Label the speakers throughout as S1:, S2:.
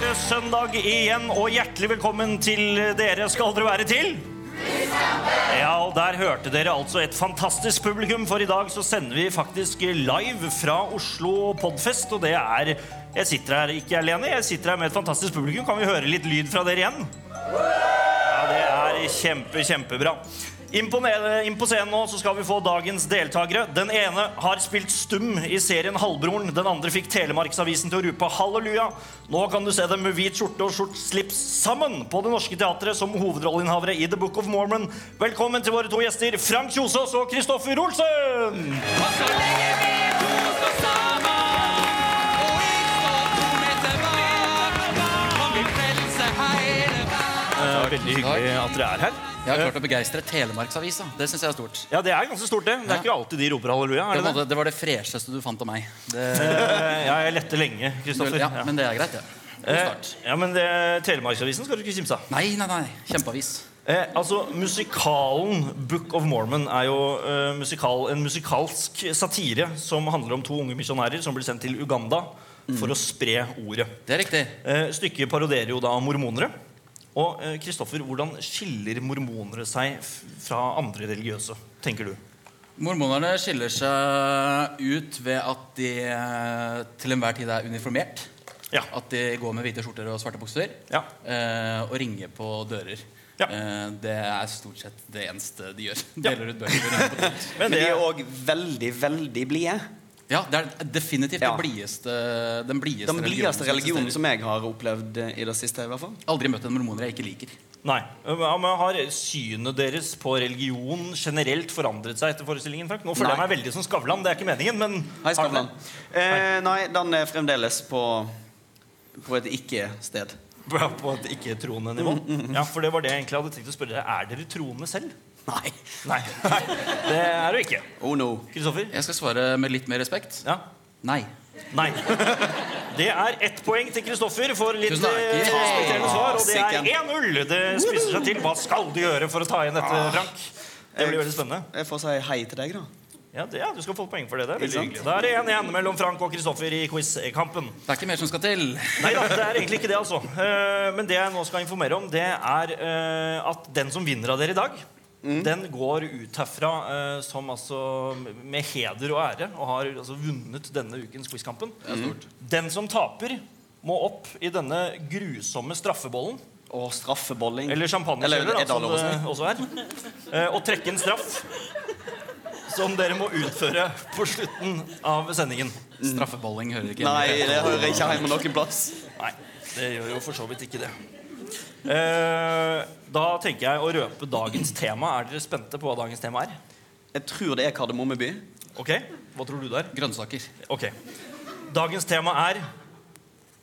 S1: det søndag igjen, og hjertelig velkommen til dere skal dere være til. Ja, og Der hørte dere altså et fantastisk publikum, for i dag så sender vi faktisk live fra Oslo Podfest. Og det er Jeg sitter her ikke alene, jeg sitter her med et fantastisk publikum. Kan vi høre litt lyd fra dere igjen? Ja, det er kjempe, kjempebra. Inn på, nede- inn på scenen nå så skal vi få dagens deltakere. Den ene har spilt stum i serien Halvbroren. Den andre fikk Telemarksavisen til å rope halleluja. Nå kan du se dem med hvit skjorte og skjort slips sammen på Det Norske Teatret som hovedrolleinnehavere i The Book of Mormon. Velkommen til våre to gjester Frank Kjosås og Kristoffer Olsen! Eh, Veldig hyggelig at dere er her.
S2: Jeg har klart å begeistre Telemarksavisa. Det synes jeg er stort.
S1: Ja, Det er ganske stort, det. Det er ikke alltid de roper halleluja.
S2: Det
S1: er det
S2: var
S1: det?
S2: det, det, var det fresheste du fant av meg. Det,
S1: Eh, Ja, jeg lette lenge, Kristoffer.
S2: ja, men det er greit, det. God
S1: Eh,
S2: start.
S1: Ja, men det, Telemarksavisen skal du ikke kimse av.
S2: Nei, nei, nei. Kjempeavis.
S1: Eh, altså, Musikalen Book of Mormon er jo eh, musikal, en musikalsk satire som handler om to unge misjonærer som blir sendt til Uganda for å spre ordet.
S2: Det er riktig.
S1: Eh, stykket parodierer jo da mormonere. Og eh, Kristoffer, hvordan skiller mormonere seg f- fra andre religiøse, tenker du?
S2: Mormonerne skiller seg ut ved at de eh, til enhver tid er uniformert.
S1: Ja.
S2: At de går med hvite skjorter og svarte bukser.
S1: Ja.
S2: eh, Og ringer på dører.
S1: Ja.
S2: Eh, Det er stort sett det eneste de gjør. Deler ut bøker. og ringer på dører.
S3: Men de er òg veldig, veldig blide.
S2: Ja, Det er definitivt
S3: Ja.
S2: det blideste, den blideste
S3: Den blideste religionen
S2: eksisterer.
S3: som jeg har opplevd eh, i det siste. i hvert fall
S2: Aldri møtt en mormoner jeg ikke liker.
S1: Nei. Eh, ja, men Har synet deres på religion generelt forandret seg etter forestillingen? Frank? Nå føler jeg
S3: Nei.
S1: meg veldig som Skavlan. Det er ikke meningen, men
S3: Hei,
S1: har den
S3: Skavlan. Eh, nei, den er fremdeles på, på et ikke-sted.
S1: Bra På et ikke-troende nivå? Ja, for det var det jeg egentlig hadde tenkt å spørre dere. Er dere troende selv?
S3: Nei.
S1: Nei. Nei. Det er du ikke.
S3: Oh no.
S1: Kristoffer?
S2: Jeg skal svare med litt mer respekt.
S1: Ja?
S2: Nei.
S1: Nei. Det er ett poeng til Kristoffer for litt
S2: Tusen takk.
S1: eh, respekterende svar, og det
S3: Sikken.
S1: er 1-0. Det spiser seg til. Hva skal du gjøre for å ta igjen dette, Frank? Det blir veldig spennende.
S3: Jeg får si hei til deg, da.
S1: Ja, det, ja, du skal få poeng for det. Det er veldig
S3: Ikke
S1: hyggelig. Da er det 1-1 mellom Frank og Kristoffer i quiz-kampen.
S2: Det er ikke mer som skal til.
S3: Mm.
S1: Nei da, det er egentlig ikke det, altså. Eh, men det jeg nå skal informere om, det er eh, at den som vinner av dere i dag, den går ut herfra eh, som altså med heder og ære og har altså vunnet denne ukens quizkampen. Den som taper, må opp i denne grusomme straffebollen,
S3: Og straffebolling.
S1: eller
S3: Mm. Eller,
S1: champagnekjøler,
S3: er
S1: da,
S3: det
S1: som
S3: lov å
S1: det
S3: si?
S1: også er, eh, og trekke en straff. Som dere må utføre på slutten av sendingen.
S2: Straffebolling hører ikke
S3: Nei,
S2: hjemme.
S3: det hører ikke hjemme noen plass.
S1: Nei, det gjør jo for så vidt ikke det. Eh, da tenker jeg å røpe dagens tema. Er dere spente på hva dagens tema er?
S3: Jeg tror det er Kardemomme by.
S1: Ok, Hva tror du det er?
S2: Grønnsaker.
S1: Ok. Dagens tema er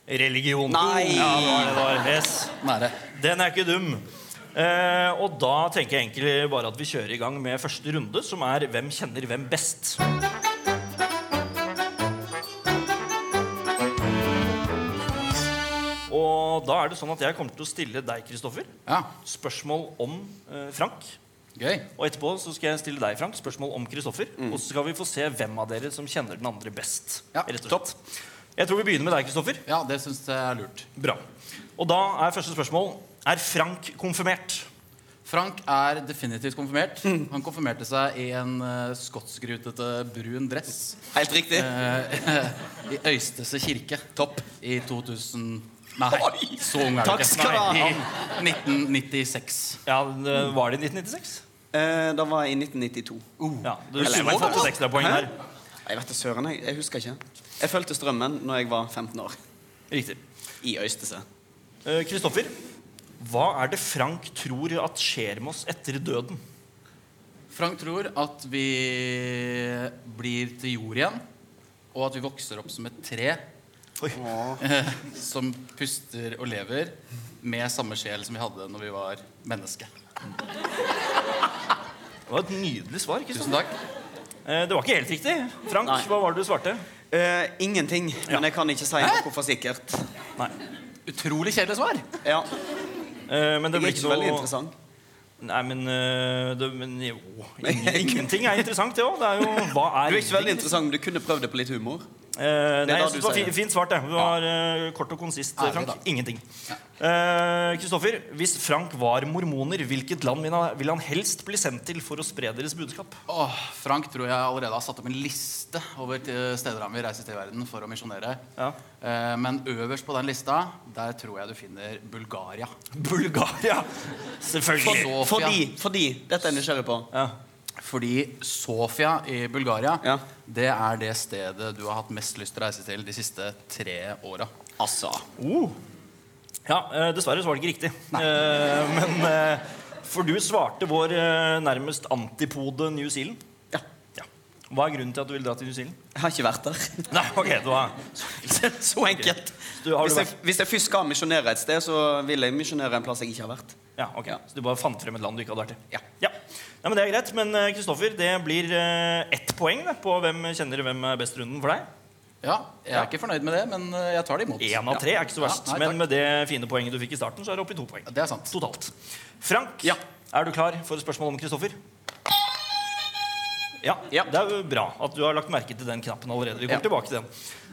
S1: religion.
S3: Nei!
S1: Ja, det var det det var. Yes.
S2: Nære.
S1: Den er ikke dum. Eh, og da tenker jeg egentlig bare at vi kjører i gang med første runde, som er Hvem kjenner hvem best? Og da er det sånn at jeg kommer til å stille deg, Kristoffer,
S2: Ja,
S1: spørsmål om eh, Frank.
S2: gøy.
S1: Og etterpå så skal jeg stille deg, Frank, spørsmål om Kristoffer. Og så skal vi få se hvem av dere som kjenner den andre best.
S2: Ja,
S1: rett og slett. Jeg tror vi begynner med deg, Kristoffer.
S2: Ja, det syns jeg er lurt.
S1: Bra. Og da er første spørsmål Er Frank konfirmert?
S2: Frank er definitivt konfirmert.
S3: Mm.
S2: Han konfirmerte seg i en uh, skotsgrutete brun dress
S3: Helt riktig.
S2: eh, i Øystese kirke. Topp. I 2000 Nei,
S3: Oi!
S2: så ung er du
S3: Takk
S2: ikke.
S3: skal du ha.
S2: Nei, i 1996.
S1: Ja, det- Var det i 1996?
S3: Eh, det var i 1992.
S1: Ja, Du
S3: Eller,
S1: skulle
S3: jeg vet
S1: fått et
S3: ikke.
S1: ekstrapoeng
S3: Hæ?
S1: her.
S3: Jeg vet da søren, jeg. Jeg husker ikke. Jeg fulgte strømmen når jeg var 15 år.
S1: Riktig.
S3: I Øystese.
S1: Eh, Kristoffer, hva er det Frank tror at skjer med oss etter døden?
S2: Frank tror at vi blir til jord igjen, og at vi vokser opp som et tre eh, som puster og lever med samme sjel som vi hadde når vi var menneske.
S1: Det var et nydelig svar. Kristoffer.
S2: Tusen takk.
S1: Eh, det var ikke helt riktig. Frank,
S3: Nei.
S1: hva var det du svarte?
S3: Eh, ingenting. Men jeg kan ikke si noe for sikkert.
S1: Nei.
S2: Utrolig kjedelig svar.
S3: Ja,
S1: Eh, men det
S3: jeg
S1: ble
S3: er ikke så
S1: ikke
S3: veldig
S1: noe
S3: interessant.
S1: Nei, men, eh, det, men jo ingen- Ingenting er interessant, det òg. Det er jo Hva er
S3: Du er ikke veldig interessant, men du kunne prøvd det på litt humor.
S1: Eh, nei,
S3: da
S1: jeg
S3: du
S1: synes det var
S3: sier
S1: fi-
S3: det.
S1: Fint svart. Det Det var eh, kort og konsist. eh,
S2: Ærlig,
S1: Frank.
S2: da.
S1: Ingenting. Eh, Kristoffer, hvis Frank var mormoner, hvilket land vil han- vil han helst bli sendt til for å spre deres budskap?
S2: Åh, Frank tror jeg allerede har satt opp en liste over til steder han vil reise til i verden for å misjonere.
S1: Ja.
S2: Eh, Men øverst på den lista, der tror jeg du finner Bulgaria.
S1: Bulgaria! Selvfølgelig.
S2: Sofia.
S3: Fordi, fordi Dette er jeg nysgjerrig på.
S1: Ja.
S2: Fordi Sofia i Bulgaria,
S3: Ja.
S2: det er det stedet du har hatt mest lyst til å reise til de siste tre åra.
S3: Altså
S1: Oh. ja eh, dessverre så var det ikke riktig. Eh, men eh, For du svarte vår eh, nærmest antipode New Zealand.
S3: Ja.
S1: Ja. Hva er grunnen til at du vil dra til New Zealand?
S3: Jeg har ikke vært der.
S1: Nei, ok, du har...
S3: Så enkelt.
S1: Du, har du
S3: Hvis jeg, hvis jeg først skal misjonere et sted, så vil jeg misjonere en plass jeg ikke har vært.
S1: Ja, ok.
S3: Ja.
S1: Så du bare fant frem et land du ikke hadde vært i?
S3: Ja.
S1: ja. Nei, men Det er greit. Men eh, Kristoffer, det blir eh, ett poeng da, på hvem kjenner hvem er best runden for deg.
S2: Ja, jeg er ikke fornøyd med det, men eh, jeg tar det imot.
S1: Én av tre er ikke så
S2: Ja,
S1: verst.
S2: nei, takk.
S1: men med det fine poenget du fikk i starten, så er det oppe i to poeng.
S2: Det er sant.
S1: Totalt. Frank,
S2: Ja.
S1: er du klar for et spørsmål om Kristoffer? Ja,
S3: Ja.
S1: Det er jo bra at du har lagt merke til den knappen allerede. Vi går
S2: Ja.
S1: tilbake til den.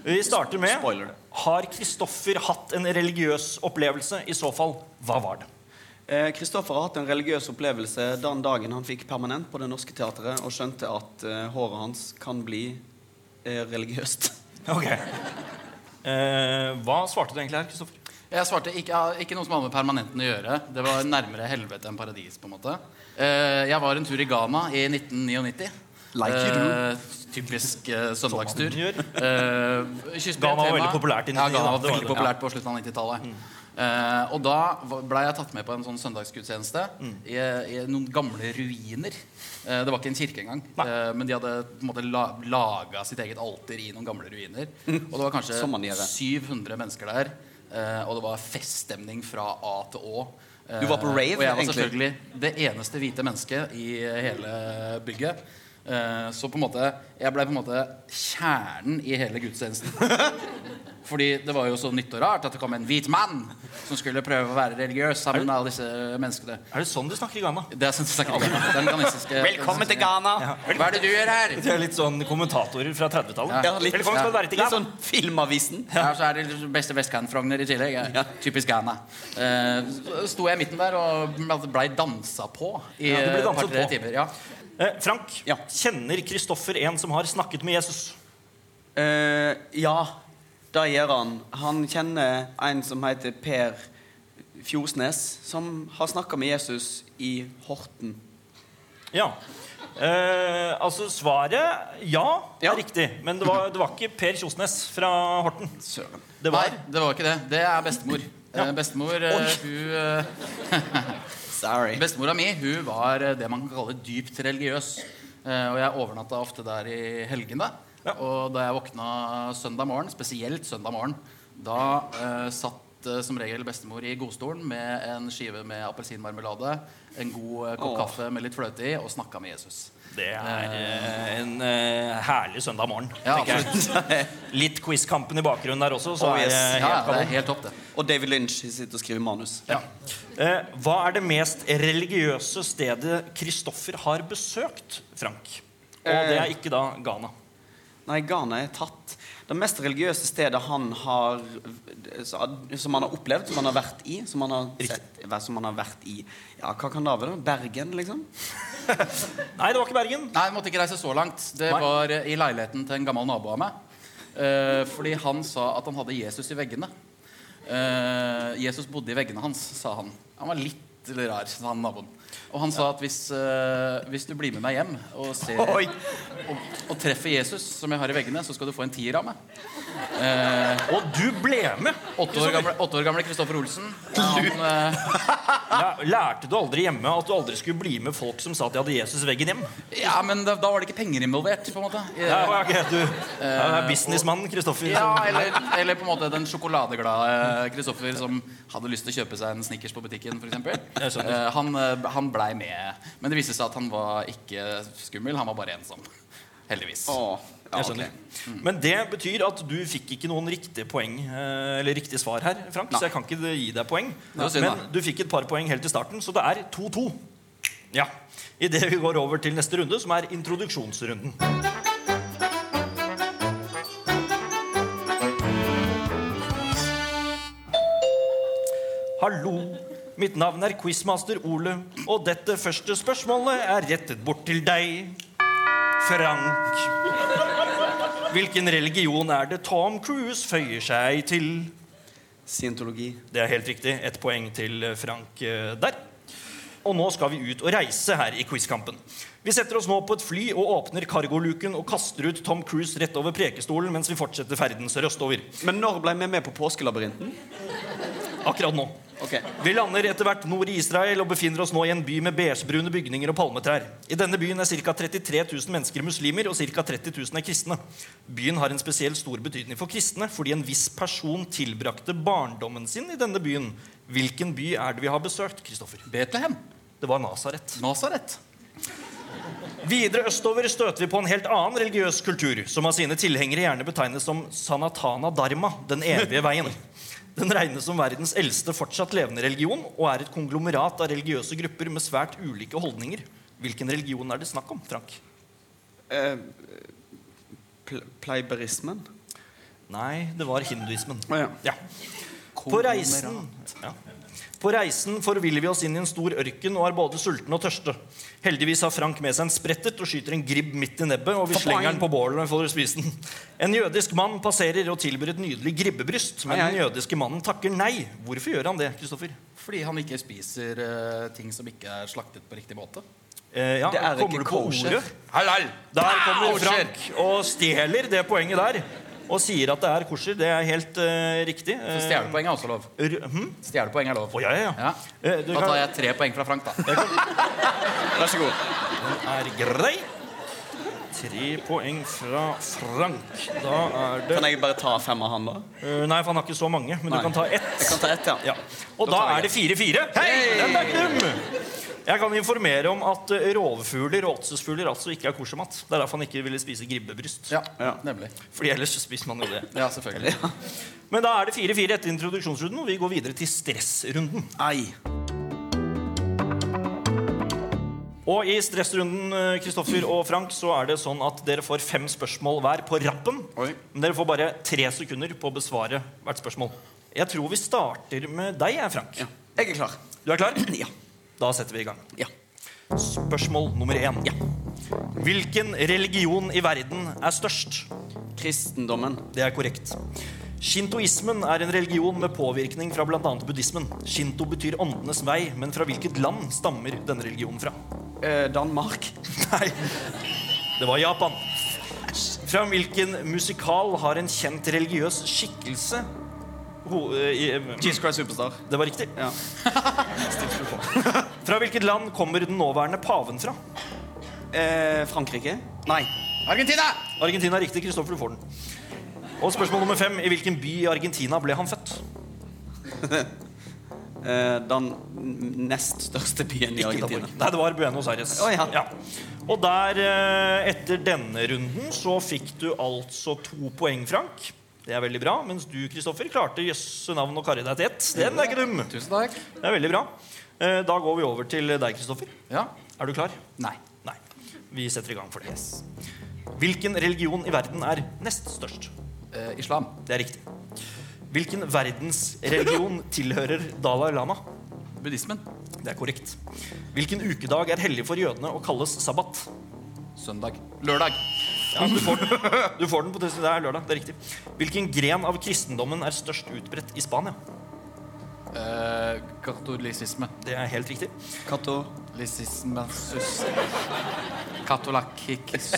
S1: Vi starter med
S3: Spoiler det.
S1: Har Kristoffer hatt en religiøs opplevelse? I så fall, hva var det?
S3: Eh, Kristoffer har hatt en religiøs opplevelse den dagen han fikk permanent på Det Norske Teatret og skjønte at eh, håret hans kan bli eh, religiøst.
S1: Ok. Eh, hva svarte du egentlig her, Kristoffer?
S2: Jeg svarte ikke, ja, ikke noe som hadde med permanenten å gjøre. Det var nærmere helvete enn paradis. på en måte Eh, Jeg var en tur i Ghana i 1999.
S3: Like you do.
S2: Eh, typisk eh, søndagstur.
S1: Som man gjør.
S2: Eh, kystbetema.
S1: Ghana var veldig populært i
S2: Ja,
S1: 99,
S2: Ghana var
S1: det var det. Mm.
S2: veldig populært på slutten av 90-tallet. Eh, og da blei jeg tatt med på en sånn søndagsgudstjeneste
S1: Mm.
S2: i, i noen gamle ruiner. Eh, det var ikke en kirke engang,
S1: Nei.
S2: eh, men de hadde på en måte la, laga sitt eget alter i noen gamle ruiner.
S1: Mm.
S2: Og det var kanskje
S3: Som man gjør det.
S2: 700 mennesker der, eh, og det var feststemning fra A til Å. Eh,
S3: Du var på rave,
S2: Og jeg var
S3: egentlig?
S2: selvfølgelig det eneste hvite mennesket i hele bygget. Eh, Så på en måte jeg ble på en måte kjernen i hele gudstjenesten. Fordi det var jo så nytt og rart at det kom en hvit mann som skulle prøve å være religiøs sammen med alle disse menneskene.
S1: Er det sånn du snakker i Ghana?
S2: Det er sånn snakker om den ghanesiske
S3: Velkommen til Ghana!
S2: Hva er det du gjør her?
S1: Det er litt sånn kommentatorer fra 30-tallet.
S2: Ja.
S3: litt,
S1: Velkommen skal du være til
S3: litt
S1: Ghana.
S3: sånn Filmavisen.
S2: Ja, så er det liksom beste vestkantfrogner i tillegg. Ja. Typisk Ghana. Eh, så sto jeg i midten der og blei dansa på i
S1: Ja, du ble
S2: et
S1: danset
S2: par-tre
S1: på.
S2: timer. Ja.
S1: Eh, Frank,
S3: Ja.
S1: kjenner Kristoffer en som har snakket med Jesus?
S3: Eh, ja, det gjør han. Han kjenner en som heter Per Fjorsnes, som har snakka med Jesus i Horten.
S1: Ja. Eh, altså svaret ja,
S3: Ja.
S1: er riktig. Men det var, det var ikke Per Kjosnes fra Horten.
S3: Søren.
S1: Det var
S2: Nei, det var ikke det. Det er bestemor. Eh, bestemor eh,
S1: Oi.
S2: hun, eh,
S3: Sorry.
S2: bestemora mi hun var eh, det man kan kalle dypt religiøs. Eh, og jeg overnatta ofte der i helgene.
S1: Ja.
S2: Og da jeg våkna søndag morgen, spesielt søndag morgen, da eh, satt eh, som regel bestemor i godstolen med en skive med appelsinmarmelade, en god eh, kopp
S3: Åh.
S2: kaffe med litt fløte i, og snakka med Jesus.
S1: Det er eh, en eh, herlig søndag morgen.
S2: Ja,
S1: tenker jeg. Litt Quizkampen i bakgrunnen der også, så
S3: Oh,
S1: er
S3: yes.
S1: det
S2: Ja,
S1: helt
S2: ja, det
S1: kanon.
S2: er helt topp, det.
S3: Og David Lynch sitter og skriver manus.
S2: Ja.
S1: Eh, hva er det mest religiøse stedet Kristoffer har besøkt, Frank? Og det er ikke da Ghana.
S3: Nei, Ghana er tatt. Det mest religiøse stedet han har Som han har opplevd, som han har vært i. Som han har, sett, som han har vært i. Ja, hva kan det være? Bergen, liksom?
S1: Nei, det var ikke Bergen.
S2: Nei, jeg måtte ikke reise så langt. Det
S1: Nei.
S2: var eh, i leiligheten til en gammel nabo av meg. Eh, fordi han sa at han hadde Jesus i veggene. Eh, Jesus bodde i veggene hans, sa han. Han var litt rar, sa han naboen. Og han sa at hvis, eh, hvis du blir med meg hjem og, ser,
S3: Oi.
S2: og, og treffer Jesus, som jeg har i veggene, så skal du få en tier av meg.
S1: Og du ble med!
S2: Åtte år gamle- åtte år gamle Kristoffer Olsen. Han, eh,
S1: Læ- Lærte du aldri hjemme at du aldri skulle bli med folk som sa at de hadde Jesus i veggen hjem?
S2: eh, ja, men da, da var det ikke penger involvert, på en måte. Eh,
S1: Ja, ok, du ja, det er businessmannen Kristoffer.
S2: Ja, eller, eller på en måte den sjokoladeglade Kristoffer som hadde lyst til å kjøpe seg en Snickers på butikken,
S1: Jeg
S2: f.eks.
S1: skjønner.
S2: Uh, han eh, han blei med. Men det viste seg at han var ikke skummel, han var bare ensom. Heldigvis.
S3: Å, ja,
S1: Jeg
S3: ok.
S1: skjønner. Men det betyr at du fikk ikke noen riktige poeng eh, Eller riktig svar her, Frank. Så jeg kan ikke gi deg poeng.
S2: Det var synd,
S1: Men
S2: da.
S1: du fikk et par poeng helt i starten, så det er 2-2. Ja. Idet vi går over til neste runde, som er introduksjonsrunden. Hallo. Mitt navn er quizmaster Ole, og dette første spørsmålet er rettet bort til deg, Frank. Hvilken religion er det Tom Cruise føyer seg til?
S3: Scientologi.
S1: Det er helt riktig. Ett poeng til Frank eh, der. Og nå skal vi ut og reise her i quizkampen. Vi setter oss nå på et fly og åpner cargoluken og kaster ut Tom Cruise rett over Prekestolen mens vi fortsetter ferden sørøstover.
S3: Men når ble vi med på Påskelabyrinten?
S1: Akkurat nå.
S3: Ok.
S1: Vi lander etter hvert nord i Israel og befinner oss nå i en by med beigebrune bygninger og palmetrær. I denne byen er ca. 33 000 mennesker muslimer, og ca. 30 000 er kristne. Byen har en spesiell stor betydning for kristne fordi en viss person tilbrakte barndommen sin i denne byen. Hvilken by er det vi har besøkt? Kristoffer?
S2: Betlehem.
S1: Det var Nasaret.
S2: Nasaret.
S1: Videre østover støter vi på en helt annen religiøs kultur, som av sine tilhengere gjerne betegnes som sanatana dharma, den evige veien. Den regnes som verdens eldste fortsatt levende religion og er et konglomerat av religiøse grupper med svært ulike holdninger. Hvilken religion er det snakk om, Frank?
S3: Eh, pl- Pleiberismen?
S1: Nei, det var hinduismen.
S3: Å ja.
S1: Ja. På reisen ja. På reisen forviller vi oss inn i en stor ørken og er både sultne og tørste. Heldigvis har Frank med seg en sprettert og skyter en gribb midt i nebbet, og vi
S3: Fapoing!
S1: slenger den på bålet for å spise den. En jødisk mann passerer og tilbyr et nydelig gribbebryst, men
S3: Ai, ai.
S1: den jødiske mannen takker nei. Hvorfor gjør han det, Kristoffer?
S2: Fordi han ikke spiser eh, ting som ikke er slaktet på riktig måte.
S1: Eh, ja,
S3: Det er
S1: kommer du
S3: ikke
S1: på
S3: kosher.
S1: ordet?
S2: Halal!
S1: Der kommer Frank og stjeler det poenget der. Og sier at det er kosher. Det er helt eh, riktig. Eh,
S2: Stjelepoeng er også lov.
S1: r- hm?
S2: Stjelepoeng er lov.
S1: Å, ja, ja, ja.
S2: Ja.
S1: Eh, du
S2: Da
S1: kan-
S2: tar jeg tre poeng fra Frank, da.
S3: Vær så god.
S1: er grei. Tre poeng fra Frank. Da er det
S3: Kan jeg bare ta fem av han, da?
S1: Eh, Nei, for han har ikke så mange, men
S3: Nei.
S1: du kan ta ett.
S3: Jeg kan ta ett, ja.
S1: Ja. Og
S3: Da
S1: da, er
S3: tar jeg
S1: det 4-4. Hei! Den er knum! Jeg kan informere om at eh, rovfugler og åtsesfugler altså ikke er kosemat. Det er derfor han ikke ville spise gribbebryst.
S2: Ja,
S3: Ja.
S2: Nemlig.
S1: Fordi ellers så spiser man jo det.
S2: Ja, selvfølgelig.
S1: Men da er det 4-4 etter introduksjonsrunden, og vi går videre til stressrunden.
S3: Ei.
S1: Og i stressrunden eh, Kristoffer og Frank, så er det sånn at dere får fem spørsmål hver på rappen.
S3: Oi.
S1: Men dere får bare tre sekunder på å besvare hvert spørsmål. Jeg tror vi starter med deg, jeg, Frank.
S3: Ja. Jeg er klar.
S1: Du er klar?
S3: Ja.
S1: Da setter vi i gang.
S3: Ja.
S1: Spørsmål nummer én.
S3: Ja.
S1: Hvilken religion i verden er størst?
S3: Kristendommen.
S1: Det er korrekt. Shintoismen er en religion med påvirkning fra bl.a. buddhismen. Shinto betyr åndenes vei, men fra hvilket land stammer denne religionen fra?
S3: Eh, Danmark.
S1: Nei, det var Japan. Fra hvilken musikal har en kjent religiøs skikkelse ho, eh, i,
S3: Jesus Christ Superstar.
S1: Det var riktig.
S3: Ja.
S1: Fra hvilket land kommer den nåværende paven fra?
S3: Eh, Frankrike. Nei.
S2: Argentina!
S1: Argentina er riktig. Kristoffer, du får den. Og spørsmål nummer fem. I hvilken by i Argentina ble han født?
S3: Eh, den n- nest største byen i
S1: Ikke
S3: Argentina.
S1: Danmark. Nei, det var Buenos Aires.
S3: Å, ja.
S1: Og der, eh, etter denne runden, så fikk du altså to poeng, Frank. Det er veldig bra. Mens du, Kristoffer, klarte jøsse navn og karre deg til ett. Den er ikke dum.
S2: Tusen takk.
S1: Det er veldig bra. Eh, Da går vi over til deg, Kristoffer.
S2: Ja.
S1: Er du klar?
S2: Nei.
S1: Nei. Vi setter i gang for det. Hvilken religion i verden er nest størst?
S2: Eh, islam.
S1: Det er riktig. Hvilken verdensreligion tilhører Dalai Lama?
S2: Buddhismen.
S1: Det er korrekt. Hvilken ukedag er hellig for jødene og kalles sabbat?
S2: Søndag. Lørdag.
S1: Ja, du, får den. du får den på det det er lørdag. Det er riktig. Hvilken gren av kristendommen er størst utbredt i Spania?
S2: Eh, katolisisme.
S1: Det er helt riktig.
S3: Kato.
S2: Lisismasus. Katolakikis.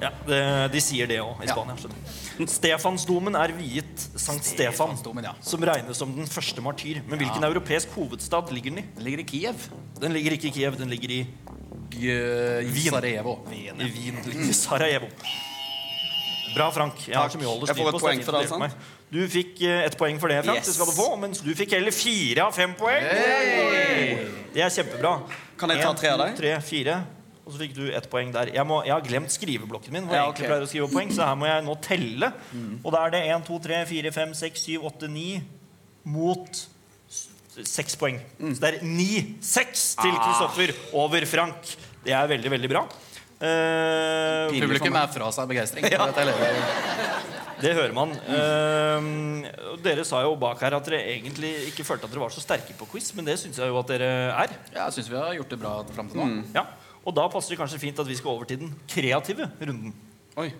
S1: Ja, det, de sier det òg i
S2: Ja.
S1: Spania. skjønner du. Stefansdomen er viet Sankt Stefan,
S2: Stefansdomen, ja.
S1: som regnes som den første martyr. Men hvilken europeisk hovedstad ligger den i?
S2: Den ligger i Kiev.
S1: Den ligger ikke i Kiev, den ligger i
S2: Vien. Sarajevo.
S1: I Wien ligger Sarajevo. Bra, Frank. Jeg har
S3: Takk.
S1: så mye å holde
S3: Jeg får
S1: styr
S3: et
S1: på. så
S3: poeng
S1: er fint
S3: for det,
S1: at du hjelper meg. Du fikk eh, ett poeng for det, Frank. Det
S3: Yes.
S1: skal du få. Mens du fikk hele fire av fem poeng. Det er kjempebra.
S3: Kan jeg ta
S1: En,
S3: tre av
S1: to,
S3: deg?
S1: Tre, fire. Og så fikk du ett poeng der. Jeg, må, jeg har glemt skriveblokken min. Hvor jeg
S3: Ja,
S1: egentlig
S3: ok. Mm.
S1: pleier å skrive poeng Så her må jeg nå telle. Og da er det 1, 2, 3, 4, 5, 6, 7, 8, 9 mot s- seks poeng. Så det er 9-6 til Kristoffer over Frank. Det er veldig, veldig bra. Eh,
S3: Pinlig for
S2: Publikum
S3: meg.
S2: er fra seg av begeistring. for at jeg lever-
S1: Det hører man. Eh, og dere sa jo bak her at dere egentlig ikke følte at dere var så sterke på quiz, men det syns jeg jo at dere er.
S2: Jeg syns vi har gjort det bra fram til nå.
S1: Ja. Og da passer det kanskje fint at vi skal over til den kreative runden.
S3: Oi.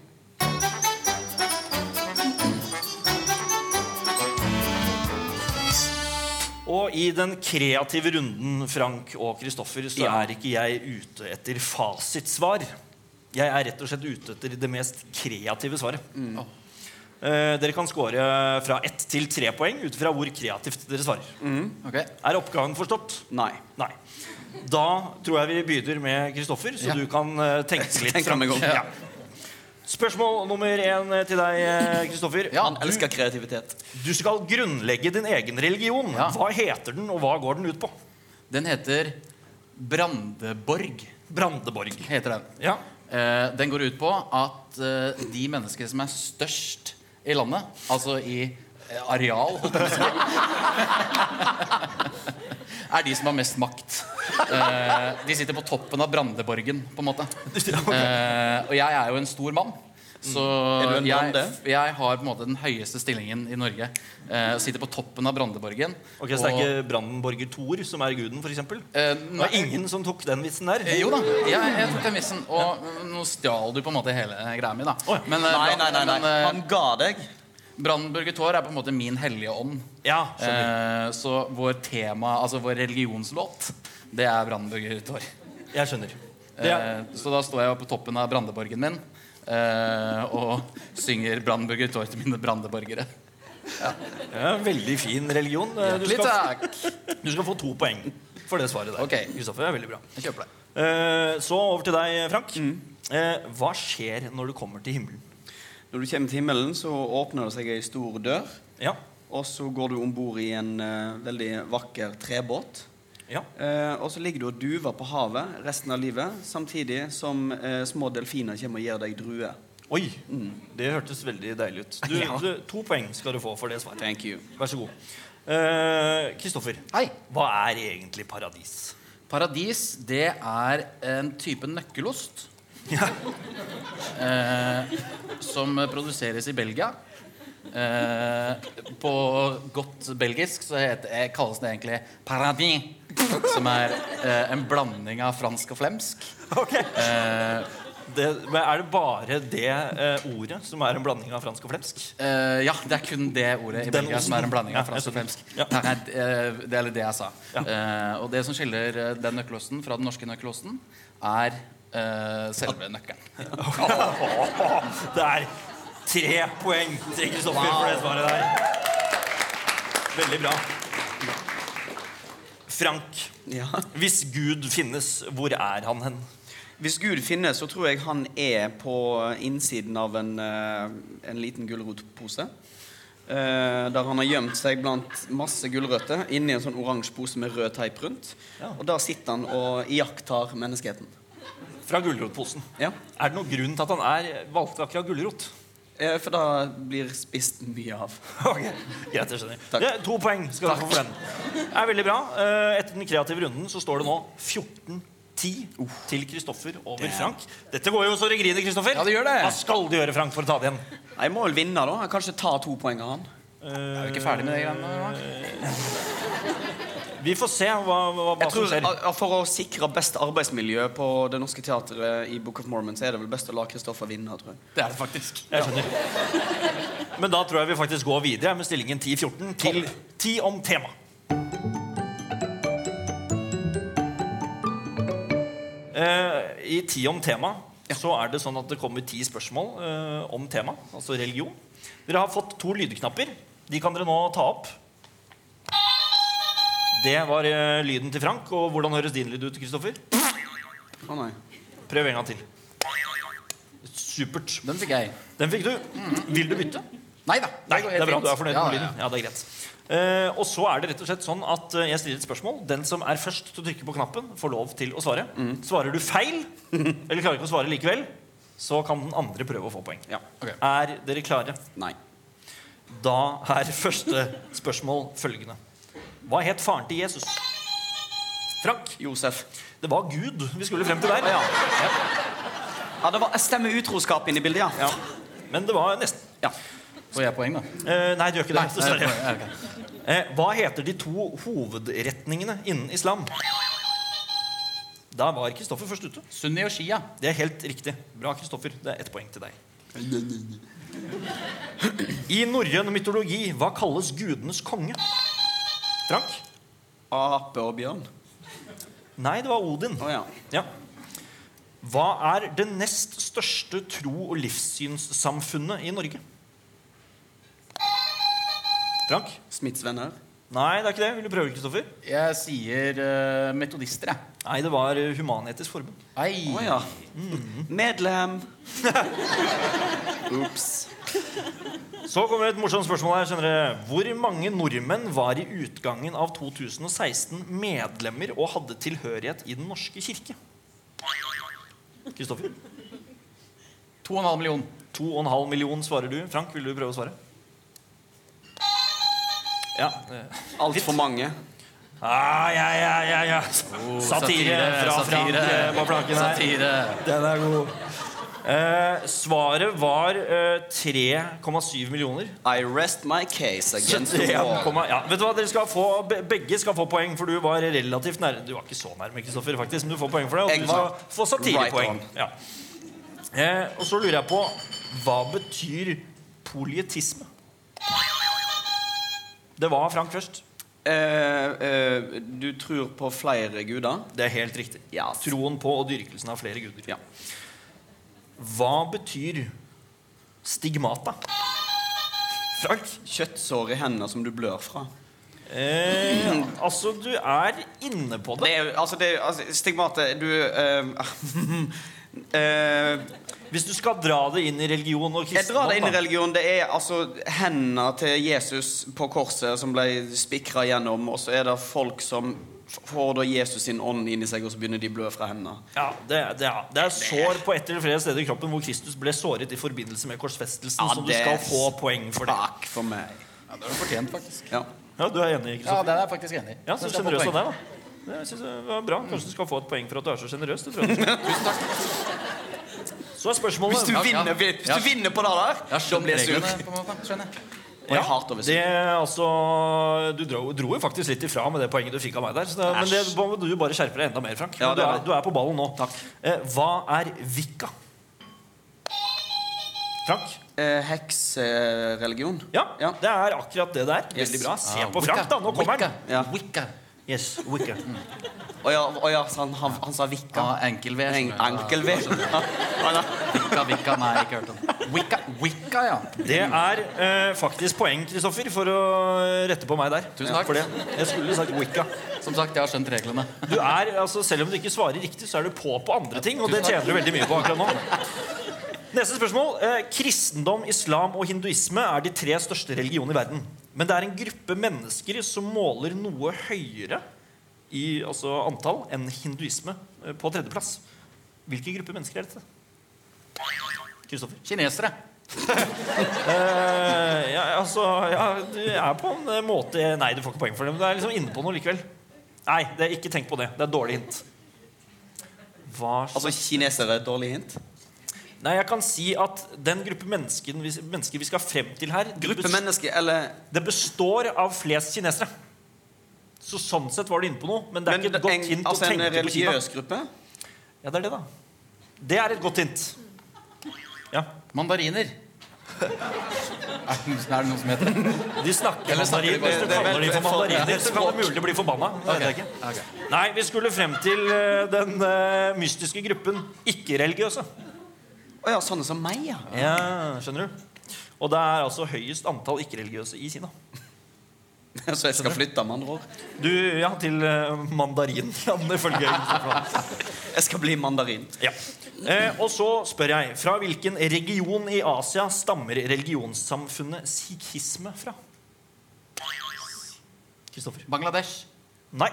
S1: Og i den kreative runden, Frank og Kristoffer, så
S3: Ja.
S1: er ikke jeg ute etter fasitsvar. Jeg er rett og slett ute etter det mest kreative svaret.
S2: Åh.
S1: Eh, dere kan score fra ett til tre poeng ut fra hvor kreativt dere svarer.
S2: Ok.
S1: Er oppgaven forstått?
S3: Nei.
S1: Nei. Da tror jeg vi begynner med Kristoffer, så
S2: Ja.
S1: du kan eh, tenke litt.
S3: Tenk
S1: Frank.
S3: meg om.
S1: Ja. Spørsmål nummer én til deg, eh, Kristoffer.
S2: Ja,
S3: Han elsker kreativitet.
S1: Du skal grunnlegge din egen religion.
S2: Ja.
S1: Hva heter den, og hva går den ut på?
S2: Den heter Brandeborg.
S1: Brandeborg.
S2: Heter den.
S1: Ja.
S2: Eh, den går ut på at eh, de mennesker som er størst i landet, altså i eh, areal, holdt jeg på å si, er de som har mest makt. Eh, de sitter på toppen av Brandeborgen, på en måte. Eh, og jeg er jo en stor mann. Så
S1: Mm.
S3: Er du en
S2: jeg,
S3: brande?
S2: jeg har på en måte den høyeste stillingen i Norge. Eh, og sitter på toppen av Brandeborgen.
S1: Ok, Så det er ikke Brandenborger Thor som er guden, f.eks.? Det
S2: eh,
S1: var
S2: nei,
S1: ingen som tok den vitsen der.
S2: Eh, Jo da, jeg, jeg tok den vissen. Og mm, nå stjal du på en måte hele eh, greia mi, da.
S1: Å ja.
S2: Men, eh,
S3: Nei, nei,
S2: Brand-
S3: nei. nei.
S2: men, eh,
S3: Han ga deg.
S2: Brandenburger Tor er på en måte min hellige ånd.
S1: Ja, skjønner.
S2: Eh, så vår tema, altså vår religionslåt, det er Brandenburger Tor.
S1: Jeg skjønner. Det er,
S2: Eh, så da står jeg på toppen av brandeborgen min eh, og synger Brandenburger Tor til mine brandeborgere.
S1: det er en veldig fin religion. Eh, Du
S2: Litt
S1: skal,
S2: takk!
S1: du skal få to poeng for det svaret der.
S2: Ok.
S1: Kristoffer, det er veldig bra.
S2: Jeg kjøper det.
S1: Eh, Så over til deg, Frank.
S2: Mm.
S1: Eh, Hva skjer når du kommer til himmelen?
S3: Når du kommer til himmelen, så åpner det seg ei stor dør.
S1: Ja.
S3: Og så går du om bord i en eh, veldig vakker trebåt.
S1: ja.
S3: Eh, og så ligger du og duver på havet resten av livet, samtidig som eh, små delfiner kommer og gir deg druer.
S1: Oi.
S2: Mm.
S1: Det hørtes veldig deilig ut. Du,
S3: Ja.
S1: du, to poeng skal du få for det svaret.
S3: Thank you.
S1: Vær så god. Eh, Kristoffer,
S2: Hei.
S1: hva er egentlig paradis?
S2: Paradis, det er en type nøkkelost. Eh, som produseres i Belgia. Eh, på godt belgisk så heter, eh, kalles det egentlig paradis. Som er eh, en blanding av fransk og flemsk. Eh.
S1: Det, men er det bare det eh, ordet som er en blanding av fransk og flemsk?
S2: Eh, ja, det er kun det ordet i
S1: Den
S2: Belgia som
S1: osten.
S2: er en blanding
S1: Ja,
S2: av fransk og
S1: jeg
S2: flemsk.
S1: skjønner. Ja.
S2: Parad- eh, det er litt det jeg sa.
S1: Ja.
S2: Eh, og det som skiller eh, den nøkkelosten fra den norske nøkkelosten, er eh, selve nøkkelen.
S1: Det er tre poeng til Kristoffer for det svaret der. Veldig bra. Frank,
S3: Ja.
S1: hvis Gud finnes, hvor er han hen?
S3: Hvis Gud finnes, så tror jeg han er på innsiden av en, eh, en liten gulrotpose. Eh, der han har gjemt seg blant masse gulrøtter inni en sånn oransje pose med rød teip rundt.
S1: Ja.
S3: Og der sitter han og iakttar menneskeheten.
S1: Fra gulrotposen.
S3: Ja.
S1: Er det noen grunn til at han er valgte akkurat gulrot?
S3: Eh, for da blir spist mye av.
S1: Ok, Greit, jeg skjønner.
S3: Takk.
S1: Det er to poeng skal du få for den. Det er veldig bra. Eh, Etter den kreative runden så står det nå 14-10 til Kristoffer over Frank. Dette går jo så det griner, Kristoffer.
S2: Ja, det gjør det.
S1: Hva skal du gjøre, Frank, for å ta det igjen?
S3: Jeg må vel vinne, da. Jeg kan ikke ta to poeng av han.
S2: Jeg er jo ikke ferdig med det greiene der. da.
S1: Vi får se hva, hva, hva
S3: Jeg
S1: som
S3: tror,
S1: skjer.
S3: a- For å sikre best arbeidsmiljø på Det Norske Teatret i Book of Mormon, så er det vel best å la Kristoffer vinne, tror jeg.
S2: Det er det faktisk.
S1: Jeg skjønner. Men da tror jeg vi faktisk går videre med stillingen 10-14 til 10 om tema. Eh, I 10 om tema så er det sånn at det kommer ti spørsmål eh, om tema, altså religion. Dere har fått to lydknapper. De kan dere nå ta opp. Det var eh, lyden til Frank. Og hvordan høres din lyd ut, Kristoffer?
S3: Å nei.
S1: Prøv en gang til. Supert.
S2: Den fikk jeg.
S1: Den fikk du. Vil du bytte?
S2: Nei da.
S1: Nei, det er bra du er fornøyd med
S2: ja,
S1: lyden. Ja, det er greit. Eh, og så er det rett og slett sånn at eh, jeg stiller et spørsmål. Den som er først til å trykke på knappen, får lov til å svare. Svarer du feil, eller klarer ikke å svare likevel, så kan den andre prøve å få poeng.
S3: Ja.
S2: Ok.
S1: Er dere klare?
S3: Nei.
S1: Da er første spørsmål følgende. Hva het faren til Jesus? Frank.
S3: Josef.
S1: Det var Gud vi skulle frem til der.
S3: Ja. Ja, det var, jeg stemmer utroskap inn i bildet, ja.
S1: Men det var nesten.
S3: Ja.
S2: Får jeg poeng, da? Nei,
S1: Eh, nei, du gjør ikke det.
S2: det er
S1: Dessverre.
S2: poeng, ja, ok.
S1: Eh, hva heter de to hovedretningene innen islam? Da var Kristoffer først ute.
S2: Sunni og Shia.
S1: Det er helt riktig. Bra, Kristoffer. Det er ett poeng til deg. I norrøn mytologi, hva kalles gudenes konge? Frank?
S3: Ape og bjørn.
S1: Nei, det var Odin.
S3: Å ja.
S1: Ja. Hva er det nest største tro- og livssynssamfunnet i Norge? Frank?
S3: Smiths venner.
S1: Nei, det er ikke det. Vil du prøve, Kristoffer?
S2: Jeg sier eh, metodister, jeg.
S1: Nei, det var eh, Human-Etisk Forbund.
S2: Ai.
S3: Å ja. Mm-hmm. Medlem. Ops.
S1: Så kommer et morsomt spørsmål her. skjønner dere. Hvor mange nordmenn var i utgangen av 2016 medlemmer og hadde tilhørighet i Den norske kirke? Kristoffer?
S2: 2,5 million.
S1: 2,5 million svarer du. Frank, vil du prøve å svare? Ja. eh.
S3: Altfor mange.
S1: Ah, ja, ja, ja, ja. Oh, Satire fra Frank eh, på planken her.
S2: Satire.
S1: Den er god. Eh, svaret var eh, 3,7 millioner.
S3: I rest my case against the wall.
S1: 71, ja. Vet du hva, dere skal få, be- Begge skal få poeng, for du var relativt nærme. Du var ikke så nærme, Kristoffer, faktisk, men du får poeng for det. Og
S3: Jeg
S1: du
S3: var
S1: skal få satirepoeng.
S3: right
S1: Ja. Eh, og så lurer jeg på Hva betyr polietisme? Det var Frank først.
S3: Eh, eh, du tror på flere guder?
S1: Det er helt riktig.
S3: Ja.
S1: Troen på og dyrkelsen av flere guder.
S3: Ja.
S1: Hva betyr stigmata? Frank?
S3: Kjøttsår i hendene som du blør fra.
S1: Eh, altså, du er inne på
S3: Det
S1: det.
S3: er, altså, det er, altså, stigmatet Du eh, eh,
S1: Hvis du skal dra det inn i religion og
S3: Jeg
S1: kristendom
S3: drar det inn i
S1: da.
S3: religion. Det er altså hendene til Jesus på korset som ble spikra gjennom, og så er det folk som f- får da Jesus sin ånd inni seg, og så begynner de å blø fra hendene.
S1: Ja, det, det, ja. det er sår på ett eller flere steder i kroppen hvor Kristus ble såret i forbindelse med korsfestelsen,
S3: Ja,
S1: så du
S3: det-
S1: skal få poeng for det.
S3: Takk for meg.
S2: Ja, det har du fortjent, faktisk.
S3: Ja.
S1: Ja, du er enig,
S2: Ja,
S1: Kristoffer?
S2: den er jeg faktisk enig i.
S1: Ja, så
S2: Den skal få
S1: sjenerøs av
S2: poeng.
S1: deg, da. Det synes jeg var bra. Kanskje du skal få et poeng for at du er så sjenerøs. det tror jeg. Så er spørsmålet
S3: Hvis du
S2: Ja, ja.
S3: vinner, hvis
S2: Ja.
S3: du vinner på det der,
S2: Jeg har
S3: da
S2: skjønt
S3: blir jeg
S2: reglene,
S3: sur.
S2: på en måte. Skjønner jeg.
S3: Og jeg hater å være
S1: det,
S3: sur.
S1: altså, du dro, dro jo faktisk litt ifra med det poenget du fikk av meg der. Så det, men det
S3: Æsj.
S1: må du bare skjerpe deg enda mer, Frank.
S3: Ja,
S1: Men du,
S3: det er
S1: er,
S3: bra.
S1: du er på ballen nå.
S3: Takk.
S1: Eh, hva er vikka? Frank?
S3: Eh, Heksereligion.
S1: Ja,
S3: Ja.
S1: det er akkurat det det er.
S3: Yes.
S1: Veldig bra. Se
S2: Ah,
S1: på Frank,
S2: Wicca.
S1: da. Nå kommer
S2: Wicca.
S1: han.
S3: Ja.
S2: Wicca.
S1: Yes, wicca.
S3: Å ja, å ja, så han, han, han sa vikka.
S2: Ja, enkelved.
S3: En,
S2: skjønner jeg.
S3: ankel ved.
S2: Wicca, Wicca, nei, ikke hørt om. Wicca, Wicca, ja.
S1: Det er eh, faktisk poeng, Kristoffer, for å rette på meg der.
S2: Tusen takk.
S1: For det. Jeg skulle sagt wicca.
S2: Som sagt, jeg har skjønt reglene.
S1: Du er, altså Selv om du ikke svarer riktig, så er du på på andre ting. Og det
S2: Tusen takk.
S1: tjener du veldig mye på akkurat nå. Neste spørsmål. Eh, kristendom, islam og hinduisme er de tre største religionene i verden. Men det er en gruppe mennesker som måler noe høyere i altså antall enn hinduisme eh, på tredjeplass. Hvilken gruppe mennesker er dette? Kristoffer?
S2: Kinesere.
S1: Eh, ja, altså, ja, du er på en eh, måte Nei, du får ikke poeng for det, men du er liksom inne på noe likevel. Nei, det, ikke tenk på det. Det er et dårlig hint. Hva
S3: Altså, kinesere et dårlig hint?
S1: Nei, jeg kan si at den gruppe mennesken, vi- mennesker vi skal frem til her det
S3: Gruppe
S1: bes-
S3: mennesker, eller
S1: Det består av flest kinesere. Så sånn sett var du inne på noe, men det er
S3: Men
S1: ikke et godt
S3: en,
S1: hint
S3: altså,
S1: å
S3: en
S1: tenke på Kina.
S3: religiøs gruppe?
S1: Ja, det er det, da. Det er et godt hint. Ja.
S2: Mandariner. Er det, er det noe som heter det?
S1: De snakker
S2: Eller snakker de
S1: mandarin.
S2: bare-
S1: Hvis du kaller de for mandariner, så kan det mulig bli forbanna. Det vet jeg ikke.
S2: Ok.
S1: Nei, vi skulle frem til eh, den eh, mystiske gruppen ikke-religiøse.
S3: Å ja, sånne som meg, ja.
S1: Ja, skjønner du? Og det er altså høyest antall ikke-religiøse i Kina.
S3: Så jeg skal flytte, med andre ord.
S1: Du, ja, til eh, mandarinlandet, følger jeg.
S3: Jeg skal bli mandarin.
S1: Ja. Eh, og så spør jeg, fra hvilken region i Asia stammer religionssamfunnet sikhisme fra? Kristoffer?
S2: Bangladesh.
S1: Nei.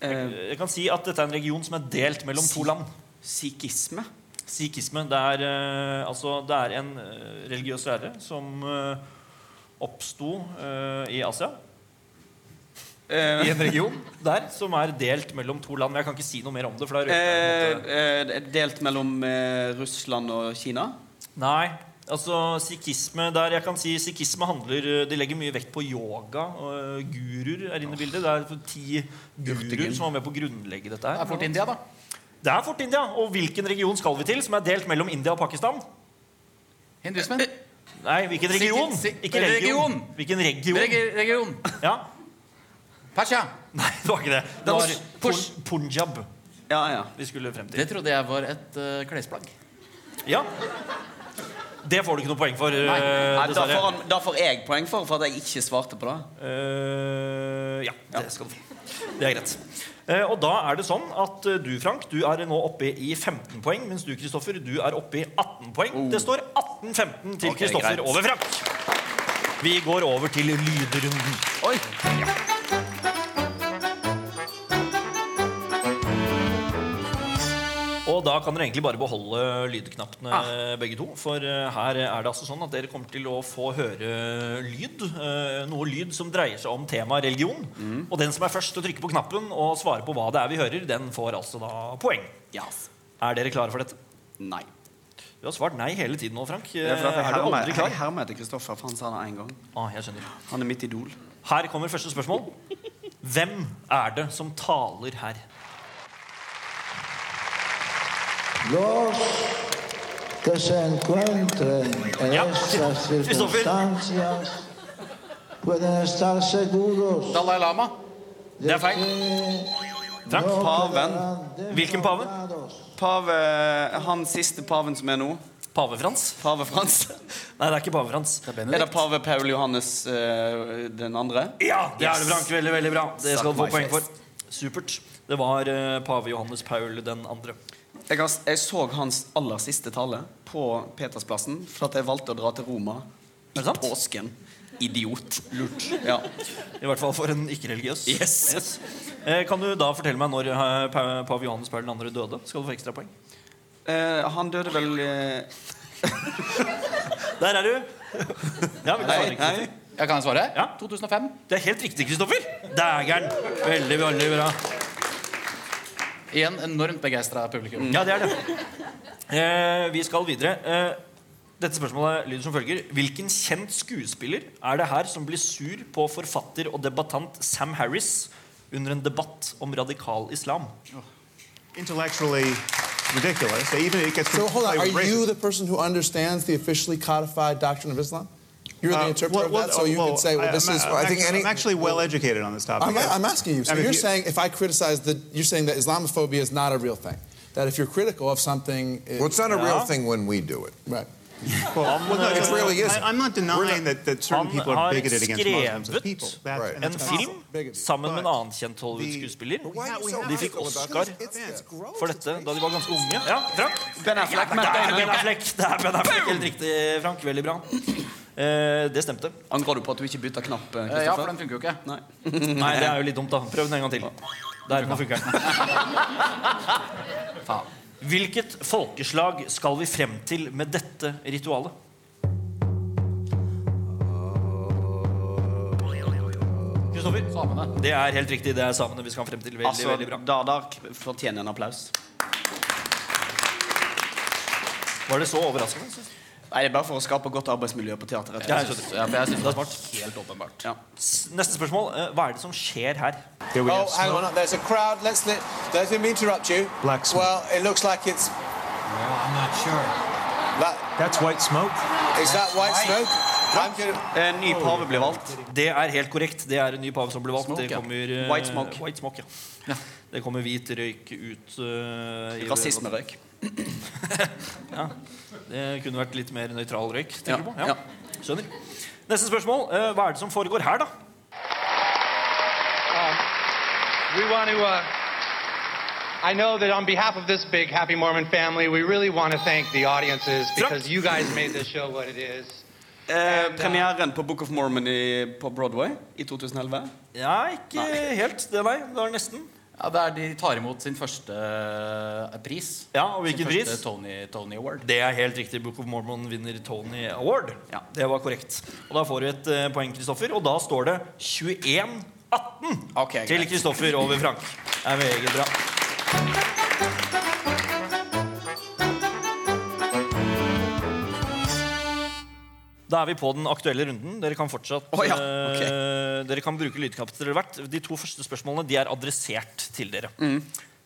S3: Eh,
S1: Jeg kan si at dette er en region som er delt mellom to land.
S3: Sikhisme?
S1: Sikhisme det er, eh, altså, det er en eh, religiøs lære som eh, oppsto eh, i Asia.
S3: Eh,
S1: I en region der som er delt mellom to land. Men jeg kan ikke si noe mer om det.
S2: Eh.
S1: For da røper jeg på en
S3: eh, eh, delt mellom eh, Russland og Kina?
S1: måte. Nei, Altså, sikhisme, der jeg kan si sikhisme handler eh, De legger mye vekt på yoga. Og eh, guruer er inne i bildet. Det er for ti guruer
S3: Urtegrim.
S1: som var med på å grunnlegge dette
S2: Det
S1: her.
S2: er fort India, da.
S1: Det er fort India. Og hvilken region skal vi til som er delt mellom India og Pakistan?
S2: Hinduismen.
S1: Nei, hvilken
S2: Sikh-
S1: region?
S2: sikh-
S1: Ikke region.
S2: region.
S1: Hvilken region?
S2: Regi- Region.
S1: Ja.
S2: Persia.
S1: Nei, det var ikke det.
S2: Det
S1: Det
S2: var
S1: var Pun
S2: Pus-
S1: Punjab
S3: Ja, ja.
S1: vi skulle frem til.
S2: Det trodde jeg var et eh, klesplagg.
S1: Ja. Det får du ikke noe poeng for, eh,
S3: Nei, da, får
S1: dessverre.
S3: han, da får jeg poeng for, for at jeg ikke svarte på det.
S1: Eh, ja, det skal du få. Det er greit. Eh, og da er det sånn at eh, du, Frank, du er nå oppe i 15 poeng, mens du, Kristoffer, du er oppe i 18 poeng. Det står 18-15 til
S3: Oh. Ok,
S1: Kristoffer
S3: greit.
S1: over Frank. Vi går over til lydrunden.
S3: Oi!
S1: Og da kan dere egentlig bare beholde lydknappene
S2: Ah.
S1: begge to. For eh, her er det altså sånn at dere kommer til å få høre lyd. eh, Noe lyd som dreier seg om temaet religion. Og den som er først til å trykke på knappen og svare på hva det er vi hører, den får altså da poeng.
S3: Yes.
S1: Er dere klare for dette?
S3: Nei.
S1: Du har svart nei hele tiden nå, Frank.
S3: Det er for at jeg
S1: Eh, er du
S3: hermer-
S1: aldri klar?
S3: jeg hermer etter Kristoffer, for han sa det én gang.
S1: Ah, jeg skjønner.
S3: Han er mitt idol.
S1: Her kommer første spørsmål. Hvem er det som taler her?
S4: los que se encuentren en
S1: Ya,
S4: estas
S1: Christopher.
S4: circunstancias pueden estar seguros
S2: Dalai Lama.
S1: Det er feil.
S4: que
S1: Frank,
S4: no
S3: paven.
S4: quedarán
S1: Vilken paven?
S4: defraudados.
S3: Pave, han siste paven som er nå,
S1: Pave Frans?
S3: pave Frans
S1: Nei, det er ikke pave Frans.
S3: Er det pave Paul Johannes eh, den andre?
S1: Ja, det er det,
S3: Yes.
S1: Frank. Veldig, veldig bra. Det skal
S3: Suck
S1: du få
S3: my
S1: poeng
S3: face.
S1: for. Supert. Det var eh, pave Johannes Paul den andre.
S3: Jeg, har, jeg så hans aller siste tale på Petersplassen for at jeg valgte å dra til Roma
S1: Er det sant?
S3: påsken. Idiot. Lurt. Ja.
S1: I hvert fall for en ikke-religiøs.
S3: Yes.
S1: Eh, Kan du da fortelle meg når eh, pa- pave Johannes Paul den andre døde? Skal du få ekstra poeng?
S3: Eh, han døde vel eh,
S1: Der er du. Ja, vi kan svare
S3: Nei,
S1: ikke.
S3: nei.
S2: Jeg kan svare?
S1: Ja.
S2: 2005.
S1: Det er helt riktig, Kristoffer. Dægeren. Veldig, veldig bra.
S2: Igjen enormt begeistra publikum.
S1: Ja, det er det. Eh, vi skal videre. Eh, dette spørsmålet lyder som følger. Hvilken kjent skuespiller er det her som blir sur på forfatter og debattant Sam Harris under en debatt om radikal islam?
S5: intellectually ridiculous. They even it gets
S6: So hold on. Are
S5: conflated with
S6: you
S5: racism.
S6: the person who understands the officially codified doctrine of Islam? You're
S5: Uh,
S6: the interpreter
S5: well-
S6: of that,
S5: well,
S6: so you
S5: well,
S6: can say, "Well, this
S5: I'm-
S6: is."
S5: I'm
S6: I think
S5: actually-
S6: any.
S5: I'm actually well educated on this topic.
S6: I'm, I'm asking you. So
S5: I mean, if
S6: you're
S5: you-
S6: saying if I criticize the, you're saying that Islamophobia is not a real thing. That if you're critical of something, it,
S7: Well, it's not a
S1: Yeah.
S7: real thing when we do it.
S6: right?
S5: Well, well, no,
S7: it
S5: no,
S7: really
S5: no,
S7: isn't.
S5: I, am not denying that, that certain
S1: Han
S5: people
S1: har
S5: are bigoted against Muslims as
S1: skrevet
S5: people. That's,
S7: Right.
S5: and
S1: En
S5: that's a problem.
S1: film sammen med en annen kjent Hollywood-skuespiller.
S5: But why are you so
S1: De fikk
S5: critical
S1: Oscar for dette da de var ganske unge. Ja, Frank?
S3: Ben Affleck, Matt
S1: Det er Ben
S3: Damon.
S1: Affleck. Det er Ben Affleck. Helt riktig, Frank. Veldig bra. Eh, det stemte.
S3: Angrer du på at du ikke bytta knapp? eh,
S2: Eh, Ja, for
S3: Kristoffer?
S2: den funker jo ikke.
S3: Nei.
S1: Nei, det er jo litt dumt, da. Prøv den en gang til. Der, nå funker den.
S2: Faen.
S1: Hvilket folkeslag skal vi frem til med dette ritualet? Kristoffer?
S2: Samene.
S1: Det er helt riktig. Det er samene vi skal frem til. Veldig,
S3: Altså,
S1: veldig bra.
S3: Dardar k- fortjener en applaus.
S1: Var det så overraskende? synes du?
S3: Nei, Det er bare for å skape godt arbeidsmiljø på teateret.
S1: Ja, jeg
S3: rett og slett.
S1: skjønner.
S2: Ja, for jeg synes
S1: Det er
S2: det
S1: smart.
S2: var helt åpenbart.
S3: Ja.
S1: S- Neste spørsmål. Eh, Hva er det som skjer her?
S5: Here we
S6: oh,
S5: have
S6: hang
S5: snow.
S6: on. There's a crowd. Let's let, let me interrupt you.
S5: Blacksmith.
S6: Well, it looks like it's. I'm not sure.
S5: That's white smoke.
S6: That, is that white smoke? I'm gonna-
S3: En Eh, ny pave blir valgt.
S1: Det er helt korrekt. Det er en ny pave som ble valgt.
S2: Smoke,
S1: det
S2: ja.
S1: kommer, eh,
S3: White smoke.
S1: White smoke ja. Det kommer hvit røyk ut eh, i-
S3: Rasismerøyk.
S1: Det kunne vært litt mer nøytral røyk.
S3: Ja,
S1: tenker du på?
S3: ja.
S1: Skjønner. Neste spørsmål. Eh, Hva er det som foregår her, da?
S8: We want to. Uh, I know that on behalf of this big Happy Mormon family, we really want to thank the audiences because you guys made this show what it is.
S3: Eh, premieren på Book of Mormon i, på Broadway i 2011.
S1: Ja, ikke helt. Det, nei. Det var nesten.
S2: Ja, det er De tar imot sin første eh, pris.
S1: Ja, og hvilken
S2: sin første
S1: pris?
S2: Tony, Tony Award.
S1: Det er helt riktig. Book of Mormon vinner Tony Award.
S3: Ja.
S1: Det var korrekt. Og Da får du et eh, poeng, Kristoffer. Og da står det 21-18
S3: Ok,
S1: til
S3: greit.
S1: Kristoffer over Frank. Det er meget bra. Da er vi på den aktuelle runden. Dere kan fortsatt
S3: Å, ja.
S1: eh,
S3: Ok.
S1: Dere kan bruke lydkapitlet hvert. De to første spørsmålene de er adressert til dere.
S3: Mm.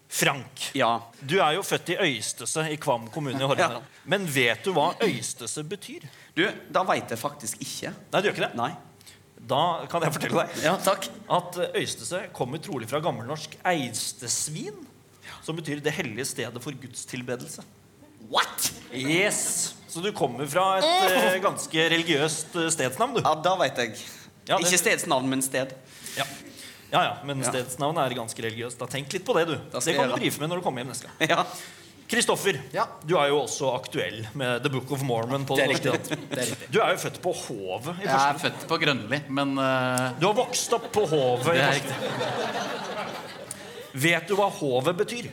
S1: Frank,
S3: Ja.
S1: du er jo født i Øystese i Kvam kommune i Hordaland. Men vet du hva Øystese betyr?
S3: Du, da veit jeg faktisk ikke.
S1: Nei, du gjør ikke det?
S3: Nei.
S1: Da kan jeg fortelle deg
S3: Ja, takk.
S1: at eh, Øystese kommer trolig fra gammelnorsk eidstesvin, som betyr det hellige stedet for gudstilbedelse.
S3: What?!
S1: Yes! Så du kommer fra et eh, ganske religiøst eh, stedsnavn, du.
S3: Ja, da veit jeg.
S1: Ja, det-
S3: Ikke stedsnavn, men sted.
S1: Ja. ja, ja, men stedsnavn er ganske religiøst. Da Tenk litt på det, du.
S3: Da skal
S1: Det kan
S3: jeg
S1: du
S3: gjøre.
S1: brife med når du kommer hjem neste gang.
S3: Ja.
S1: Kristoffer,
S2: Ja.
S1: du er jo også aktuell med The Book of Mormon. på
S2: Det er
S1: norske
S2: riktig.
S1: teatret.
S2: Det er riktig.
S1: Du er jo født på Hovet i
S2: Jeg er
S1: Porsgrunn.
S2: født på Grønli, men eh,
S1: Du har vokst opp på Hovet i
S2: det er
S1: Porsgrunn.
S2: riktig.
S1: Vet du hva Hovet betyr?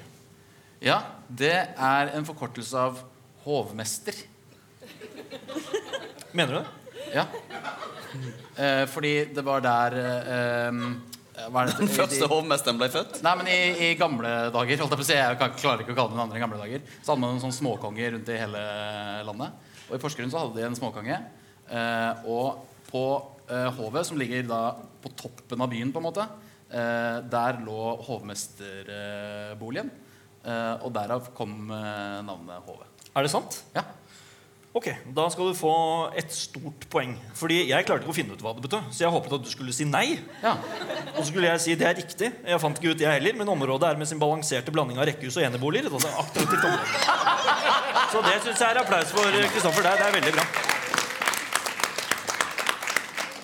S2: Ja, det er en forkortelse av hovmester.
S1: Mener du det?
S2: Ja. Eh, fordi det var der eh, eh, hva er det?
S3: Den første hovmesteren ble født.
S2: Nei, men i, i gamle dager holdt jeg på å si, jeg kan, klarer ikke å kalle den andre i gamle dager, så hadde man noen sånne småkonger rundt i hele landet. Og i Porsgrunn så hadde de en småkonge. Eh, og på eh, hovet, som ligger da på toppen av byen, på en måte, eh, der lå hovmesterboligen. Eh, og derav kom eh, navnet Hovet.
S1: Er det sant?
S2: Ja.
S1: Ok, Da skal du få et stort poeng. Fordi jeg klarte ikke å finne ut hva det betød. Så jeg håpet at du skulle si nei.
S2: ja.
S1: Og så skulle jeg si det er riktig. Jeg fant ikke ut, jeg heller. Men området er med sin balanserte blanding av rekkehus og eneboliger. et altså attraktivt område. Så det syns jeg er applaus for eh, Kristoffer. Det er, det er veldig bra.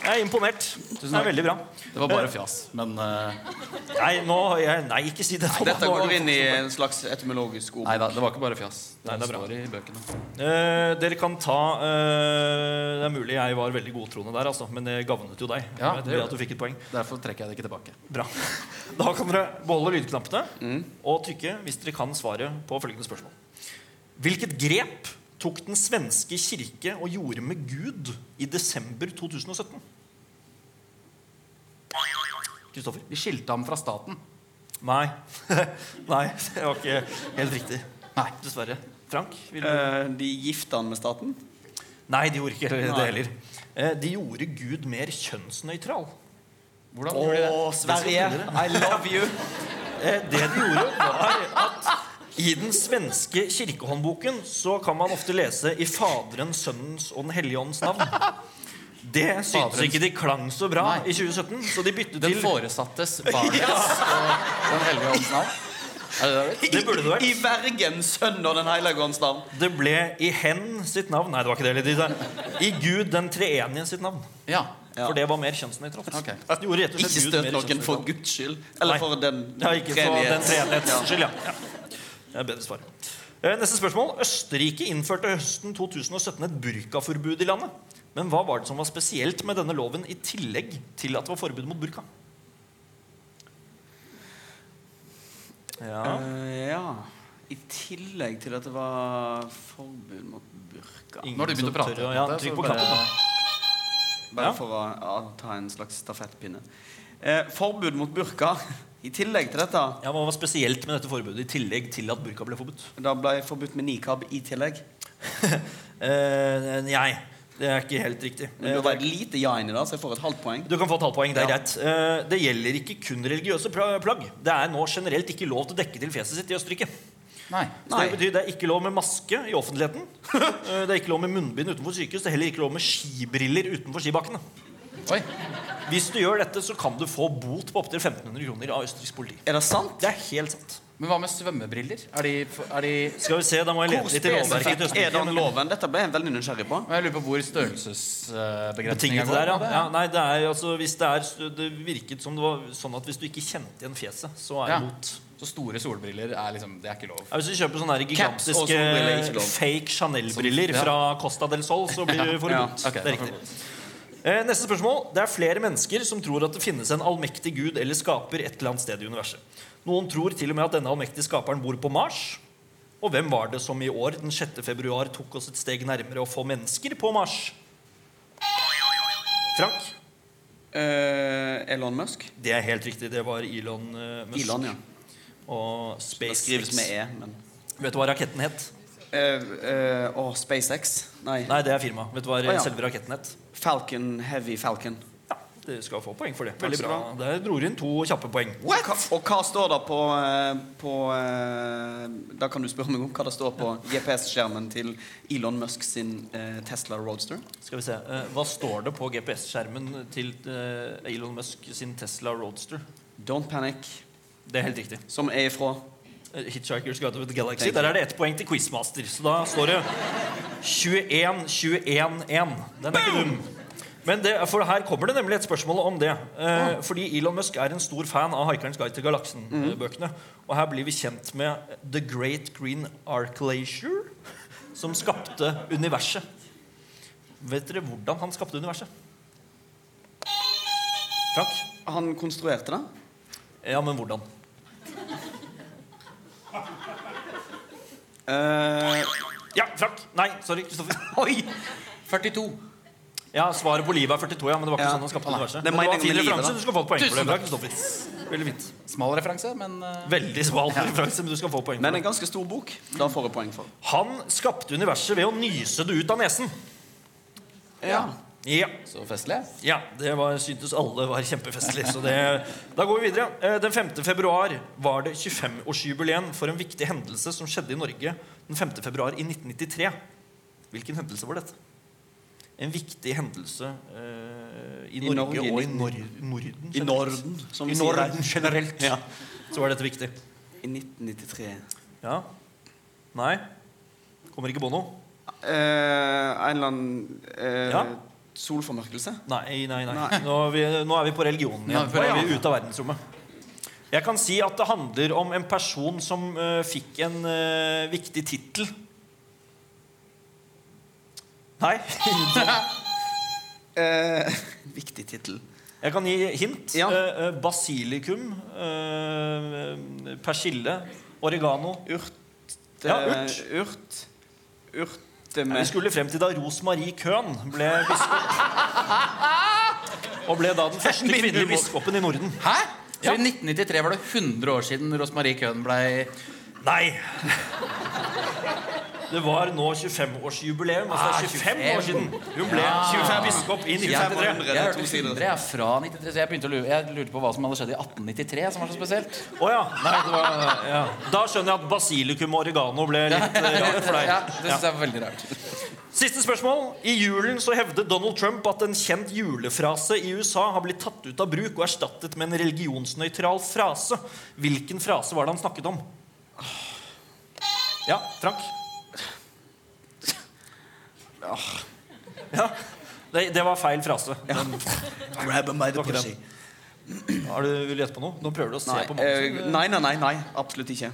S1: Jeg er imponert. Det er veldig bra.
S2: Det var bare fjas. Men eh,
S1: Nei, nå, jeg, nei ikke si det. Thomas.
S3: Dette
S1: Nå har du
S3: går inn i en slags etymologisk ord.
S2: nei da, det var ikke bare fjas. Det,
S1: Nei, det er bra.
S2: står i bøkene.
S1: Eh, dere kan ta eh, Det er mulig jeg var veldig godtroende der, altså, men det gavnet jo deg.
S2: Ja,
S1: ved
S2: det gjorde
S1: at du fikk et poeng.
S2: Derfor trekker jeg det ikke tilbake.
S1: Bra. Da kan dere beholde lydknappene og trykke hvis dere kan svaret på følgende spørsmål. Hvilket grep tok den svenske kirke og gjorde med Gud i desember 2017? Kristoffer?
S2: Vi skilte ham fra staten.
S1: Nei. Nei, det var ikke helt riktig. Nei, Dessverre. Frank? Vil du?
S3: Eh, de gifta han med staten.
S1: Nei, de gjorde ikke det
S3: Nei.
S1: heller. Eh, De gjorde Gud mer kjønnsnøytral.
S2: Hvordan
S3: Å,
S2: gjorde de det?
S3: Sverige! I love you!
S1: Eh, Det de gjorde, var at i den svenske kirkehåndboken så kan man ofte lese i Faderen, Sønnens og Den hellige ånds navn. Det syntes
S2: Faderens-
S1: ikke de klang så bra
S2: Nei.
S1: i 2017, så de byttet
S2: Den
S1: til
S2: foresattes barnets og Den hellige ånds navn. Er det det?
S1: Det burde det vært.
S3: I vergen, sønn og den hellige ånds navn.
S1: Det ble i Hen sitt navn. Nei, det var ikke det. eller de sa, I Gud den treenige sitt navn.
S2: Ja.
S1: For det var mer kjønnsnøytralt.
S2: Ok.
S1: De gjorde rett og slett
S3: Ikke
S1: Gud
S3: støt
S1: mer
S3: noen
S1: kjønnsnøytral.
S3: for Guds skyld. Eller
S1: Nei.
S3: for den
S1: Ja, ikke for den
S3: treenighets- Ja.
S1: treenighets skyld, ja. ja. Det er bedre svar. Eh, Neste spørsmål. Østerrike innførte høsten 2017 et burkaforbud i landet. Men hva var det som var spesielt med denne loven i tillegg til at det var forbud mot burka? Ja.
S3: Eh, ja. I tillegg til at det var forbud mot burka.
S1: Ingen
S2: Nå har du begynt
S1: som
S2: å prate.
S1: tør Ja,
S2: Petter,
S1: trykk
S2: så
S1: på
S2: bare-
S1: knappen. da.
S3: Bare
S1: Ja.
S3: for å ja, ta en slags stafettpinne. Eh, forbud mot burka. I tillegg til dette
S1: Ja, Hva var spesielt med dette forbudet i tillegg til at burka ble forbudt?
S3: Da ble jeg forbudt med nikab i tillegg.
S1: Eh, nei, det er ikke helt riktig. Eh,
S3: Men det var et lite ja inni der, så jeg får et halvt poeng.
S1: Du kan få et halvt poeng, det er
S3: Ja.
S1: greit. Eh, Det gjelder ikke kun religiøse pra- plagg. Det er nå generelt ikke lov til å dekke til fjeset sitt i Østerrike.
S2: Nei.
S1: Så
S3: Nei.
S1: Det betyr det er ikke lov med maske i offentligheten. Eh, Det er ikke lov med munnbind utenfor sykehus. Det er heller ikke lov med skibriller utenfor skibakkene.
S2: Oi.
S1: Hvis du gjør dette, så kan du få bot på opptil 1500 kroner av østerriksk politi.
S3: Er det sant?
S1: Det er helt sant.
S2: Men hva med svømmebriller? Er de, er de
S1: Skal vi se, da må jeg
S3: Hvor
S1: lete litt i lovverket
S3: spesifikk
S1: til
S3: er
S1: Østerrike.
S3: den loven? Dette ble jeg veldig nysgjerrig på.
S2: Jeg lurer på hvor størrelsesbegrensninga
S1: Betinget der, ja. ja nei, det, er, altså, hvis det, er, det virket som det var sånn at hvis du ikke kjente igjen fjeset, så er det bot.
S2: Så store solbriller er liksom Det er ikke lov.
S1: Ja, hvis du kjøper sånne her
S3: Caps og solbriller er ikke
S1: gigantiske
S3: lov.
S1: fake Chanel-briller
S2: Som- ja.
S1: fra Costa del Sol, så blir du forbudt.
S2: Ja, ok,
S1: det er riktig. Eh, Neste spørsmål. Det er flere mennesker som tror at det finnes en allmektig gud eller skaper et eller annet sted i universet. Noen tror til og med at denne allmektige skaperen bor på Mars. Og hvem var det som i år den 6. februar tok oss et steg nærmere å få mennesker på Mars? Frank?
S3: Eh, Elon Musk.
S1: Det er helt riktig. Det var Elon eh, Musk
S3: Elon, ja.
S1: og
S3: Det skrives
S1: SpaceX.
S3: med E, men
S1: Vet du hva raketten het?
S3: eh, eh, Åh, SpaceX? Nei.
S1: Nei, det er firma. Vet du hva
S3: Å, ja.
S1: selve raketten het?
S3: Falcon Heavy Falcon.
S1: Ja, du skal få poeng for det. Veldig
S3: Veldig
S1: bra. Der dro du inn to kjappe poeng.
S3: Og hva- Og hva står det på, eh, på eh, Da kan du spørre meg om hva det står på GPS-skjermen til Elon Musk sin eh, Tesla Roadster.
S1: Skal vi se. eh, Hva står det på GPS-skjermen til eh, Elon Musk sin Tesla Roadster?
S3: Don't Panic,
S1: Det er helt riktig.
S3: som er ifra
S1: Eh, Hitchhiker's Guide to the Galaxy.
S3: Thank you.
S1: Der er det ett poeng til Quizmaster. Så da står det 21-21-1. Den er ikke dum. Men det, for her kommer det nemlig et spørsmål om det. Eh, Fordi Elon Musk er en stor fan av Haikerens guide til
S3: Mhm.
S1: galaksen-bøkene. Og her blir vi kjent med The Great Green Arclature, som skapte universet. Vet dere hvordan han skapte universet? Frank?
S3: Han konstruerte det.
S1: Ja, men hvordan?
S3: Eh,
S1: Ja, Frank! Nei, sorry, Kristoffer.
S3: oi!
S2: 42.
S1: Ja, svaret på livet er 42, ja, men det var ikke
S3: Ja.
S1: sånn han skapte universet. Men
S3: Det er
S1: det var
S3: meningen
S1: fin
S3: med livet,
S1: referanse,
S3: da.
S1: du skal få et poeng for det.
S2: Tusen
S1: Bra, Kristoffer. Veldig fint.
S2: Smal referanse, men eh,
S1: Veldig smal referanse, men du skal få poeng
S3: Men
S1: for
S3: en
S1: det.
S3: ganske stor bok. Da får jeg poeng for.
S1: Han skapte universet ved å nyse det ut av nesen.
S3: Ja.
S1: Ja,
S2: så festlig.
S1: ja det var, syntes alle var kjempefestlig. Så det, da går vi videre. Eh, Den 5. februar var det 25-årsjubileum for en viktig hendelse som skjedde i Norge den 5. februar i 1993. Hvilken hendelse var dette? En viktig hendelse eh, i,
S3: I
S1: Norge,
S3: Norge i
S1: og i nor Norden.
S3: I
S1: generelt.
S3: Norden, som
S1: I
S3: vi sier
S1: Norden
S3: her.
S1: generelt
S3: Ja.
S1: så var dette viktig.
S3: I 1993.
S1: Ja. Nei. Kommer ikke på noe?
S3: Eh, en eller annen eh,
S1: Ja.
S3: solformørkelse.
S1: Nei, nei, nei.
S3: Nei.
S1: Nå, er vi, nå er vi på religionen
S2: Nå er
S1: igjen.
S2: vi på
S1: Nå er vi
S2: religionen.
S1: ute av verdensrommet. Jeg kan si at det handler om en person som eh, fikk en eh, viktig tittel. Nei.
S3: Eh, viktig tittel.
S1: Jeg kan gi hint.
S3: Ja.
S1: Eh, eh, basilikum, eh, persille, oregano
S3: Urt,
S1: Ja,
S3: eh,
S1: urt.
S3: urt. Urte
S1: Vi
S3: med
S1: skulle frem til da Rosemarie Köhn ble biskop. Og ble da den første
S2: Min
S1: kvinnelige
S2: humor.
S1: biskopen i Norden.
S2: Hæ? Så i 1993 var det 100 år siden Rosmarie Köhn blei
S1: Nei. Det var nå 25-årsjubileum.
S2: Ah,
S1: Altså det er 25 år siden hun ble 25 biskop i 1953.
S2: Jeg, jeg, hørte 100 jeg er fra 93, så jeg begynte å lure Jeg lurte på hva som hadde skjedd i 1893 som var så spesielt.
S1: Å ja. Nei, det var, ja. Da skjønner jeg at basilikum og oregano ble litt eh, rart for
S2: Ja,
S1: deg.
S2: det synes jeg var veldig rart.
S1: Siste spørsmål. I julen så hevdet Donald Trump at en kjent julefrase i USA har blitt tatt ut av bruk og erstattet med en religionsnøytral frase. Hvilken frase var det han snakket om? Ja, Frank? Ja, det, det var feil frase. Den,
S3: Grab by the
S1: var ikke den. Har du vil du gjette på noe? Nå prøver du å se
S3: Nei,
S1: på
S3: eh,
S1: mannen.
S3: nei, nei, nei, nei. Absolutt ikke.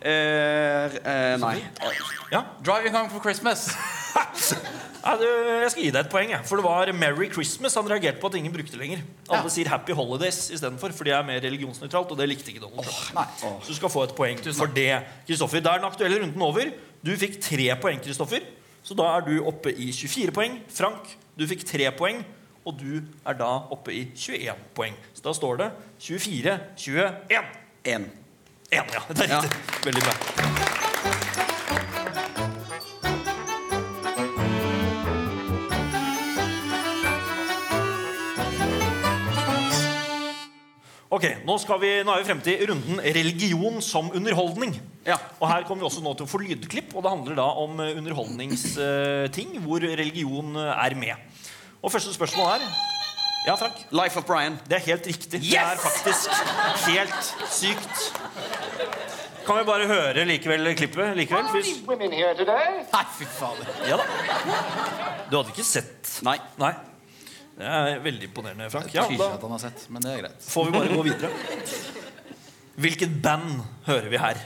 S3: Eh, eh, nei.
S1: Ja.
S2: 'Driving Home for Christmas'.
S1: Nei, du, jeg skal gi deg et poeng. Jeg. For det var Merry Christmas han reagerte på at ingen brukte lenger. Alle
S2: Ja.
S1: sier Happy Holidays istedenfor, for det er mer religionsnøytralt. Og det likte ikke Donald Trump. Så du skal få et poeng for det. Kristoffer, Da er den aktuelle runden over. Du fikk tre poeng, Kristoffer. Så da er du oppe i 24 poeng. Frank, du fikk tre poeng. Og du er da oppe i 21 poeng. Så da står det 24-21.
S3: Én.
S1: En, ja. Det er
S3: Ja.
S1: riktig. Veldig bra. Ok, nå, skal vi, nå er vi frem til runden religion som underholdning.
S3: Ja.
S1: Og her kommer vi også nå til å få lydklipp, og det handler da om eh, underholdningsting eh, hvor religion eh, er med. Og første spørsmål er Ja, Frank?
S3: Life of Brian.
S1: Det er helt riktig. Det er faktisk helt sykt. Kan vi bare høre likevel klippet? likevel? Hvis...
S7: women here today.
S2: Nei, fy fader.
S1: Ja da. Du hadde ikke sett
S3: Nei.
S1: Nei. Det er veldig imponerende, Frank. Ja,
S2: Tydelig
S1: da
S2: at han har sett, men det er greit.
S1: får vi bare gå videre. Hvilket band hører vi her?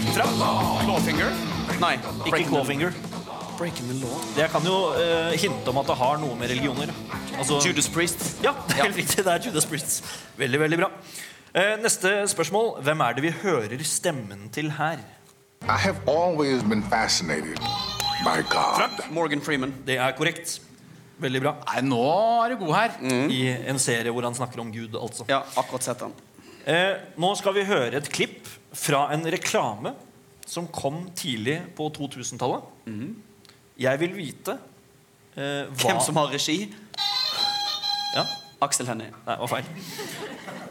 S3: Clawfinger? Nei.
S1: Ikke Clawfinger.
S3: Breaking the law.
S1: Jeg kan jo eh, hinte om at det har noe med religioner altså,
S3: Judas Priest.
S1: Ja, det er helt riktig. Det er Judas Priest. Veldig, veldig bra. Eh, neste spørsmål. Hvem er det vi hører stemmen til her?
S9: I have always been fascinated by God.
S1: Frank?
S3: Morgan Freeman.
S1: Det er korrekt. Veldig bra.
S2: Nei, nå er du god her.
S1: I en serie hvor han snakker om Gud, altså.
S3: Ja, akkurat sett den.
S1: Eh, nå skal vi høre et klipp fra en reklame som kom tidlig på 2000-tallet. Jeg vil vite eh, hva
S3: Mhm. Hvem som har regi?
S1: ja?
S3: Aksel Hennie.
S1: Nei, det var feil.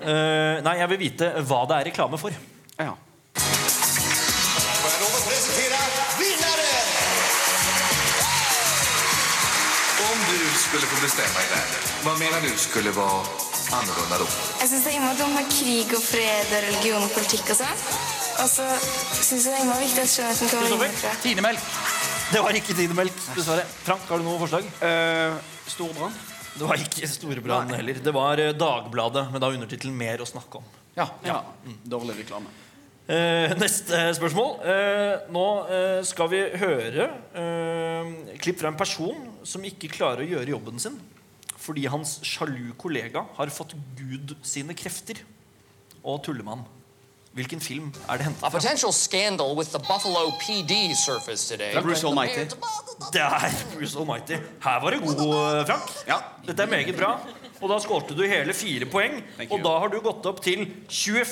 S1: Eh, nei, jeg vil vite hva det er reklame for.
S3: Ja.
S7: Får jeg lov å presentere vinneren?
S9: Om du skulle få bestämma idag, vad menar du skulle vara annorlunda då?
S10: Jeg syns det er innmari dumt med krig og fred og religion og politikk og sånn. Og så syns jeg det er innmari viktig at skjønnheten kommer
S1: Kristoffer?
S10: innenfra.
S2: Tinemelk.
S1: Det var ikke Tidemelk, dessverre. Frank, har du noe forslag?
S3: Storbrann.
S1: Det var ikke Storebrand heller. Det var eh, Dagbladet, men da undertittelen 'Mer å snakke om'.
S2: Ja.
S3: Ja. Mm, Dårlig reklame.
S1: Eh, neste spørsmål. Eh, nå eh, skal vi høre eh, klipp fra en person som ikke klarer å gjøre jobben sin fordi hans sjalu kollega har fått Gud sine krefter og tullemann. Hvilken film er det hentet fra?
S7: Potential scandal with the Buffalo PD surfaced today.
S3: Bruce Almighty.
S1: Det er Bruce Almighty. Her var du god, eh, Frank.
S3: Ja.
S1: Dette er meget bra. Og da skålte du hele fire poeng.
S3: Thank
S1: Og
S3: you.
S1: da har du gått opp til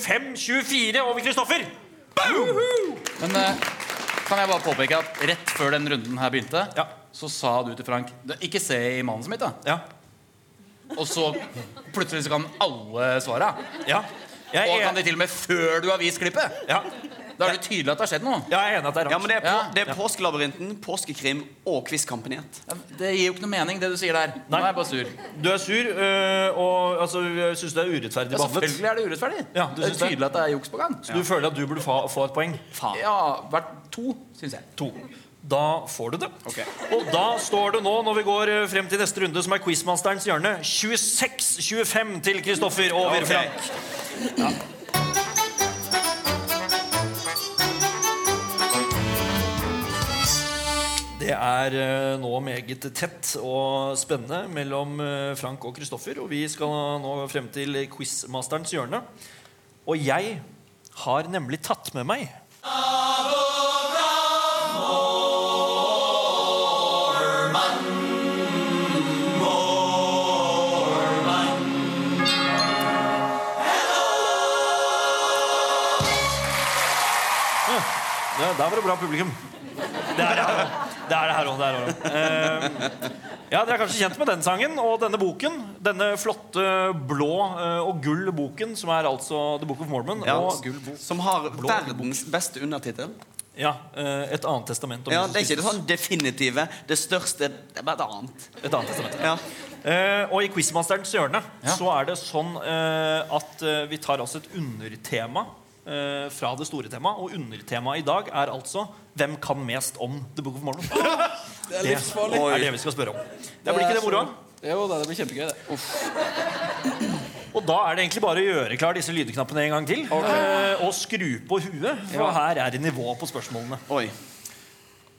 S1: 25-24 over Kristoffer. Boom!
S2: Men eh, kan jeg bare påpeke at rett før den runden her begynte,
S1: Ja.
S2: så sa du til Frank "Du, Ikke se i manuset mitt, da.
S1: Ja.
S2: Og så plutselig så kan alle svara.
S1: ja. Jeg
S2: Og
S1: er,
S2: kan de til og med før du har vist klippet.
S1: ja.
S2: Da er det tydelig at det har skjedd noe.
S1: Jeg er enig at det er rart.
S3: Ja, men det er, på,
S2: Ja.
S3: det er Påskelabyrinten, Påskekrim og Quizkampen i ett.
S2: Ja, Det gir jo ikke noe mening, det du sier der. Nå
S1: Nei.
S2: er jeg bare sur.
S1: Du er sur, øh, og altså, jeg syns det er urettferdig
S2: Ja,
S1: behandlet.
S2: selvfølgelig er det urettferdig.
S1: Ja, du
S2: det er
S1: synes det?
S2: tydelig at det er juks på gang.
S1: Så du føler at du burde fa få et poeng? Faen.
S2: Ja, hvert to, syns jeg.
S1: To. Da får du det. Og da står det nå, når vi går øh, frem til neste runde, som er Quizmasterens hjørne, 26-25 til Kristoffer og
S3: Ok.
S1: Virfrank. Det er øh, nå meget tett og spennende mellom øh, Frank og Kristoffer. Og vi skal nå frem til Quizmasterens hjørne. Og jeg har nemlig tatt med meg Ja, der var det bra publikum. Det er det her også. Det er det her også, det er det her også. Eh, ja, Dere er kanskje kjent med den sangen og denne boken. Denne flotte blå eh, og gull boken, som er altså The Book of Mormon.
S3: Ja.
S1: Og
S3: Som har verdens beste undertittel.
S1: ja, eh, et annet testament. om
S3: Ja,
S1: Jesus
S3: det er ikke det
S1: Kristus.
S3: sånn definitive. Det største Det er bare et annet.
S1: Et annet testament.
S3: Ja.
S1: Eh, og i Quizmasterens hjørne
S2: Ja.
S1: så er det sånn eh, at eh, vi tar altså et undertema eh, fra det store temaet. Og undertemaet i dag er altså 'Hvem kan mest om The Book of Mormon'? Det er livsfarlig. Det er det vi skal spørre om. Det blir ikke det moroa?
S2: Jo, det blir kjempegøy, det.
S1: Og da er det egentlig bare å gjøre klar disse lydknappene en gang til. eh, Og skru på huet, for her er det nivå på spørsmålene.
S3: Oi.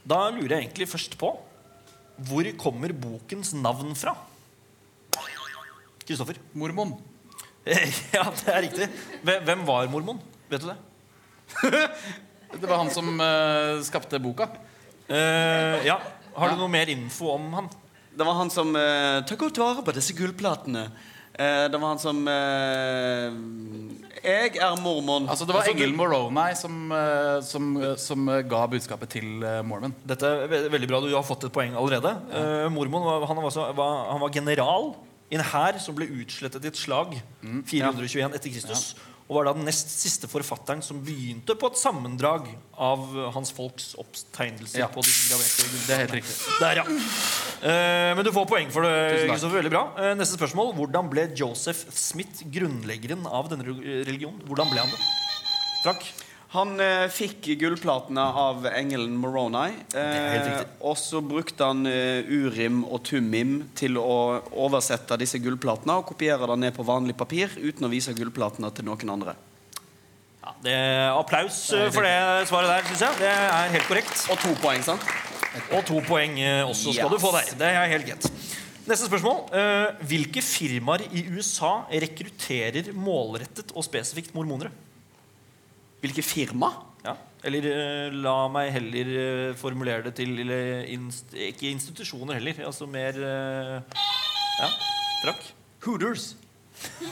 S1: Da lurer jeg egentlig først på Hvor kommer bokens navn fra? Kristoffer?
S2: Mormon.
S1: ja, det er riktig. Hve- Hvem var mormon? Vet du det?
S2: Det var han som eh, skapte boka.
S1: Eh, ja. Har du noe mer info om han?
S3: Det var han som eh, tar godt vare på disse gullplatene. Eh, det var han som eh, Jeg er mormon.
S2: Altså, det var
S3: Altså, du-
S2: engelen Moroni som, eh, som, eh, som eh, ga budskapet til eh, Mormon.
S1: Dette er ve- veldig bra, Du har fått et poeng allerede. Eh, mormon var, han var, altså- var, han var general i en hær som ble utslettet i et slag 421 etter Kristus. Og var da den nest siste forfatteren som begynte på et sammendrag av eh, hans folks opptegnelser.
S2: Ja.
S1: på disse graverte
S2: Det er helt riktig.
S1: Der, ja. Eh, men du får poeng for det.
S2: Tusen takk.
S1: Kristoffer, veldig bra Eh, Neste spørsmål. Hvordan ble Joseph Smith grunnleggeren av denne re- religionen? Hvordan ble han det? Frank?
S3: Han eh, fikk gullplatene av engelen Moroni. eh,
S1: er helt riktig.
S3: og så brukte han eh, Urim og Tumim til å oversette disse gullplatene og kopiere det ned på vanlig papir uten å vise gullplatene til noen andre.
S1: Ja, det, applaus eh, for det svaret der, syns jeg. Det er helt korrekt.
S3: Og to poeng, sant?
S1: Og to poeng eh, også skal
S3: Yes.
S1: du få der. Det er helt greit. Neste spørsmål. Eh, hvilke firmaer i USA rekrutterer målrettet og spesifikt mormonere?
S3: Hvilke firma?
S1: Ja. Eller eh, la meg heller eh, formulere det til eller inst Ikke institusjoner heller. Altså mer eh, Ja. Trakk. Hooters.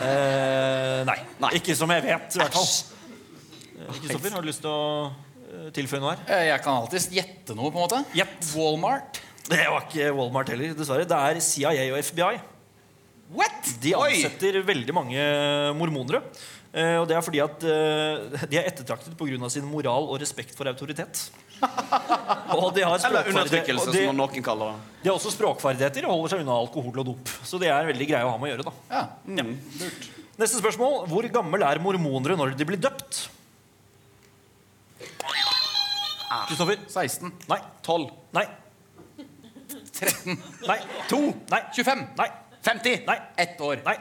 S1: eh, nei. Ikke som jeg vet, i hvert fall. Eh, Kristoffer, har du lyst til å eh, tilføye noe her?
S2: Eh, Jeg kan alltids gjette noe, på en måte. Walmart.
S1: Det var ikke Walmart heller, dessverre. Det er CIA og FBI.
S2: What?
S1: De ansetter veldig mange mormonere. Eh, Og det er fordi at eh, de er ettertraktet pga. sin moral og respekt for autoritet. Og de har
S3: Eller
S1: språkferdighet-
S3: undertrykkelse,
S1: og de,
S3: som noen kaller det.
S1: de har også språkferdigheter og holder seg unna alkohol og dop. Så det er veldig greie å ha med å gjøre, da.
S3: Mm.
S1: Neste spørsmål. Hvor gammel er mormonere når de blir døpt?
S3: Ah.
S1: Kristoffer?
S2: 16.
S1: Nei.
S2: 12.
S1: Nei.
S2: 13.
S1: Nei.
S2: 2.
S1: Nei.
S2: 25.
S1: Nei.
S2: 50.
S1: Nei.
S2: Ett år.
S1: Nei.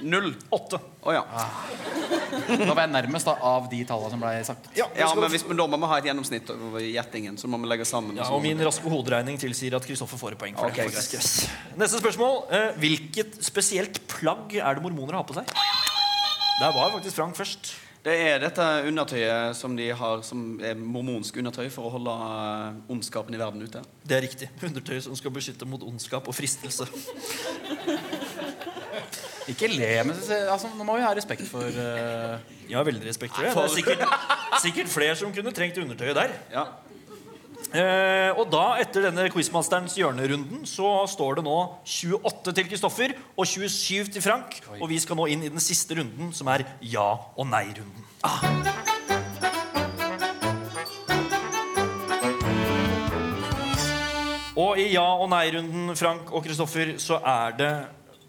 S3: Null.
S1: Åtte.
S3: Å ja.
S2: Da var jeg nærmest da, av de tallene som ble sagt.
S3: ja. Men hvis, men da må vi ha et gjennomsnitt over gjettingen, så må vi legge sammen.
S1: Ja, og min raske hoderegning tilsier at Kristoffer får et poeng for
S3: Ok,
S1: det. faktisk. Yes. Neste spørsmål. Eh, hvilket spesielt plagg er det mormoner har på seg? Der var faktisk Frank først.
S3: Det er dette undertøyet som de har som er mormonsk undertøy for å holde eh, ondskapen i verden ute.
S1: Det er riktig. Undertøy som skal beskytte mot ondskap og fristelse.
S2: Ikke le, men altså, nå må vi ha respekt for eh,
S1: Jeg har veldig respekt for det. Det er sikkert, sikkert flere som kunne trengt undertøyet der.
S3: Ja.
S1: Eh, og da, etter denne Quizmasterens hjørnerunden, så står det nå 28 til Kristoffer og 27 til Frank. Og vi skal nå inn i den siste runden, som er ja- og nei-runden. Og i ja- og nei-runden, Frank og Kristoffer, så er det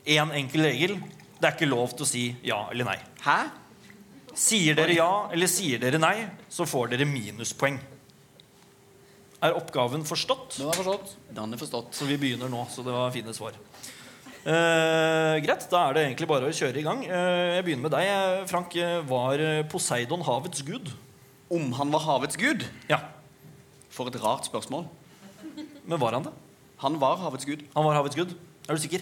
S1: én enkel regel. Det er ikke lov til å si ja eller nei.
S3: Hæ?
S1: Sier dere ja eller sier dere nei, så får dere minuspoeng. Er oppgaven forstått?
S2: Den er forstått.
S3: Den er forstått.
S1: Så vi begynner nå, så det var fine svar. Eh, greit, da er det egentlig bare å kjøre i gang. Eh, jeg begynner med deg, eh, Frank. Eh, Var eh, Poseidon havets gud?
S3: Om han var havets gud?
S1: Ja.
S3: For et rart spørsmål.
S1: Men var han det?
S3: Han var havets gud.
S1: Han var havets gud. Er du sikker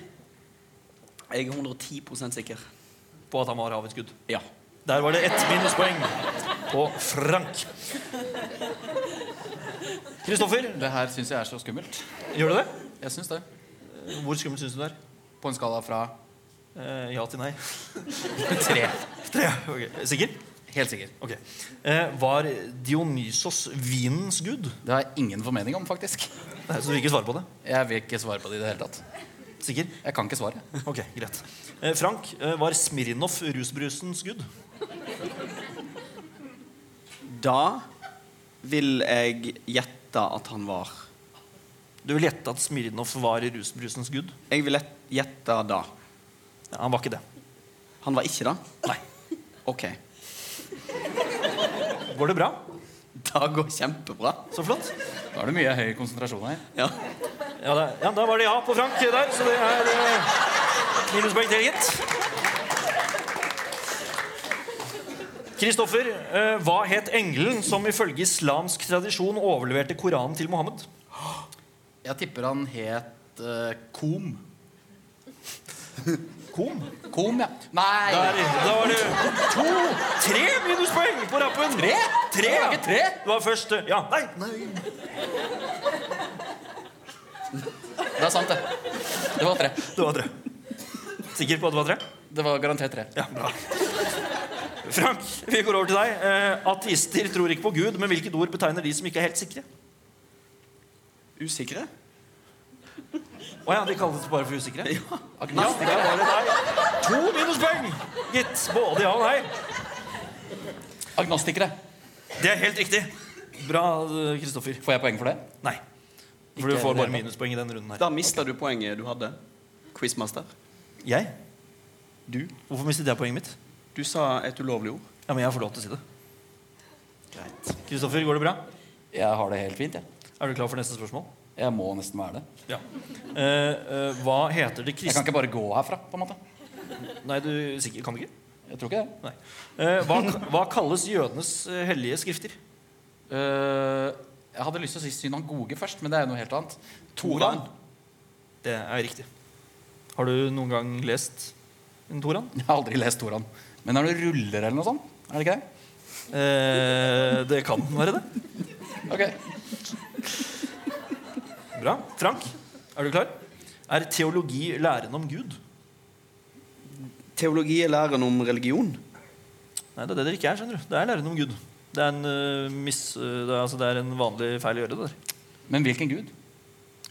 S3: Jeg er 110 sikker.
S1: på at han var havets gud?
S3: Ja.
S1: Der var det ett minuspoeng på Frank. Kristoffer,
S2: Det her syns jeg er så skummelt.
S1: gjør du det? Eh,
S2: Jeg syns det.
S1: Hvor skummelt syns du det er?
S2: På en skala fra
S1: Eh, ja til nei?
S2: tre.
S1: Tre. Ok, Sikker?
S2: Helt sikker.
S1: Ok. Eh, var Dionysos vinens gud?
S2: Det har jeg ingen formening om, faktisk.
S1: Nei, så du vil ikke svare på det?
S2: Jeg vil ikke svare på det i det hele tatt.
S1: Sikker?
S2: Jeg kan ikke svare.
S1: Ok, greit. Eh, Frank, eh, var Smirnov rusbrusens gud?
S3: Da vil jeg gjette at han var
S1: Du vil gjette at Smirnov var rusbrusens gud?
S3: Jeg vil gjette- gjette da.
S1: Ja, han var ikke det.
S3: Han var ikke det?
S1: Nei.
S3: OK.
S1: Går det bra?
S3: Det går kjempebra.
S1: Så flott.
S2: Da er det mye høy konsentrasjon her.
S3: Ja.
S1: Ja, da, ja, da var det ja på Frank der, så det er eh, minuspoeng til, gitt. Kristoffer, eh, hva het engelen som ifølge islamsk tradisjon overleverte Koranen til Mohammed?
S2: Jeg tipper han het eh, Kom.
S1: Kom.
S2: Kom, ja. Nei!
S1: Der, da var det to, tre minuspoeng på rappen.
S2: Tre?
S1: Tre,
S2: Det
S1: ja.
S2: var ikke tre.
S1: Det var først eh, Ja, nei.
S2: Det er sant, det. Det var tre.
S1: Det var tre. Sikker på at det var tre?
S2: Det var garantert tre.
S1: Ja, bra. Frank, vi går over til deg. Eh, ateister tror ikke på Gud, men hvilket ord betegner de som ikke er helt sikre?
S3: Usikre?
S1: Å ja, de kalles bare for usikre? Ja,
S2: Agnostikere.
S1: der var det deg. To minuspoeng, gitt. Både ja og nei.
S2: Agnostikere.
S1: Det er helt riktig. Bra, eh, Kristoffer.
S2: Får jeg poeng for det?
S1: Nei. For
S2: Ikke
S1: du får bare
S2: det.
S1: minuspoeng i denne runden her.
S3: Da mista du poenget du hadde. Quizmaster.
S1: Jeg?
S3: Du?
S1: Hvorfor mistet jeg poenget mitt?
S3: Du sa et ulovlig ord.
S1: Ja, men jeg får lov til å si det. Greit. Kristoffer, går det bra?
S2: Jeg har det helt fint, jeg.
S1: Er du klar for neste spørsmål?
S2: Jeg må nesten være det.
S1: Ja. Eh, eh, hva heter det
S2: Jeg kan
S1: kristne
S2: ikke bare gå herfra, på en måte.
S1: Nei, du sikker, kan du ikke?
S2: Jeg tror ikke det.
S1: Nei. Eh, hva, hva kalles jødenes eh, hellige skrifter?
S2: Eh, jeg hadde lyst til å si synagoge først, men det er jo noe helt annet. Toran.
S1: Det er riktig. Har du noen gang lest en Toran?
S2: Jeg har aldri lest Toran. Men er det noen ruller eller noe sånt? Er det ikke det?
S1: Eh, det kan være det.
S2: Ok.
S1: Bra. Frank, er du klar? Er teologi læren om Gud?
S3: Teologi er læren om religion.
S1: Nei, det er det det ikke er. skjønner du Det er læren om Gud. Det er en, eh, miss, eh, det er, altså, det er en vanlig feil å gjøre. det der
S2: Men hvilken gud?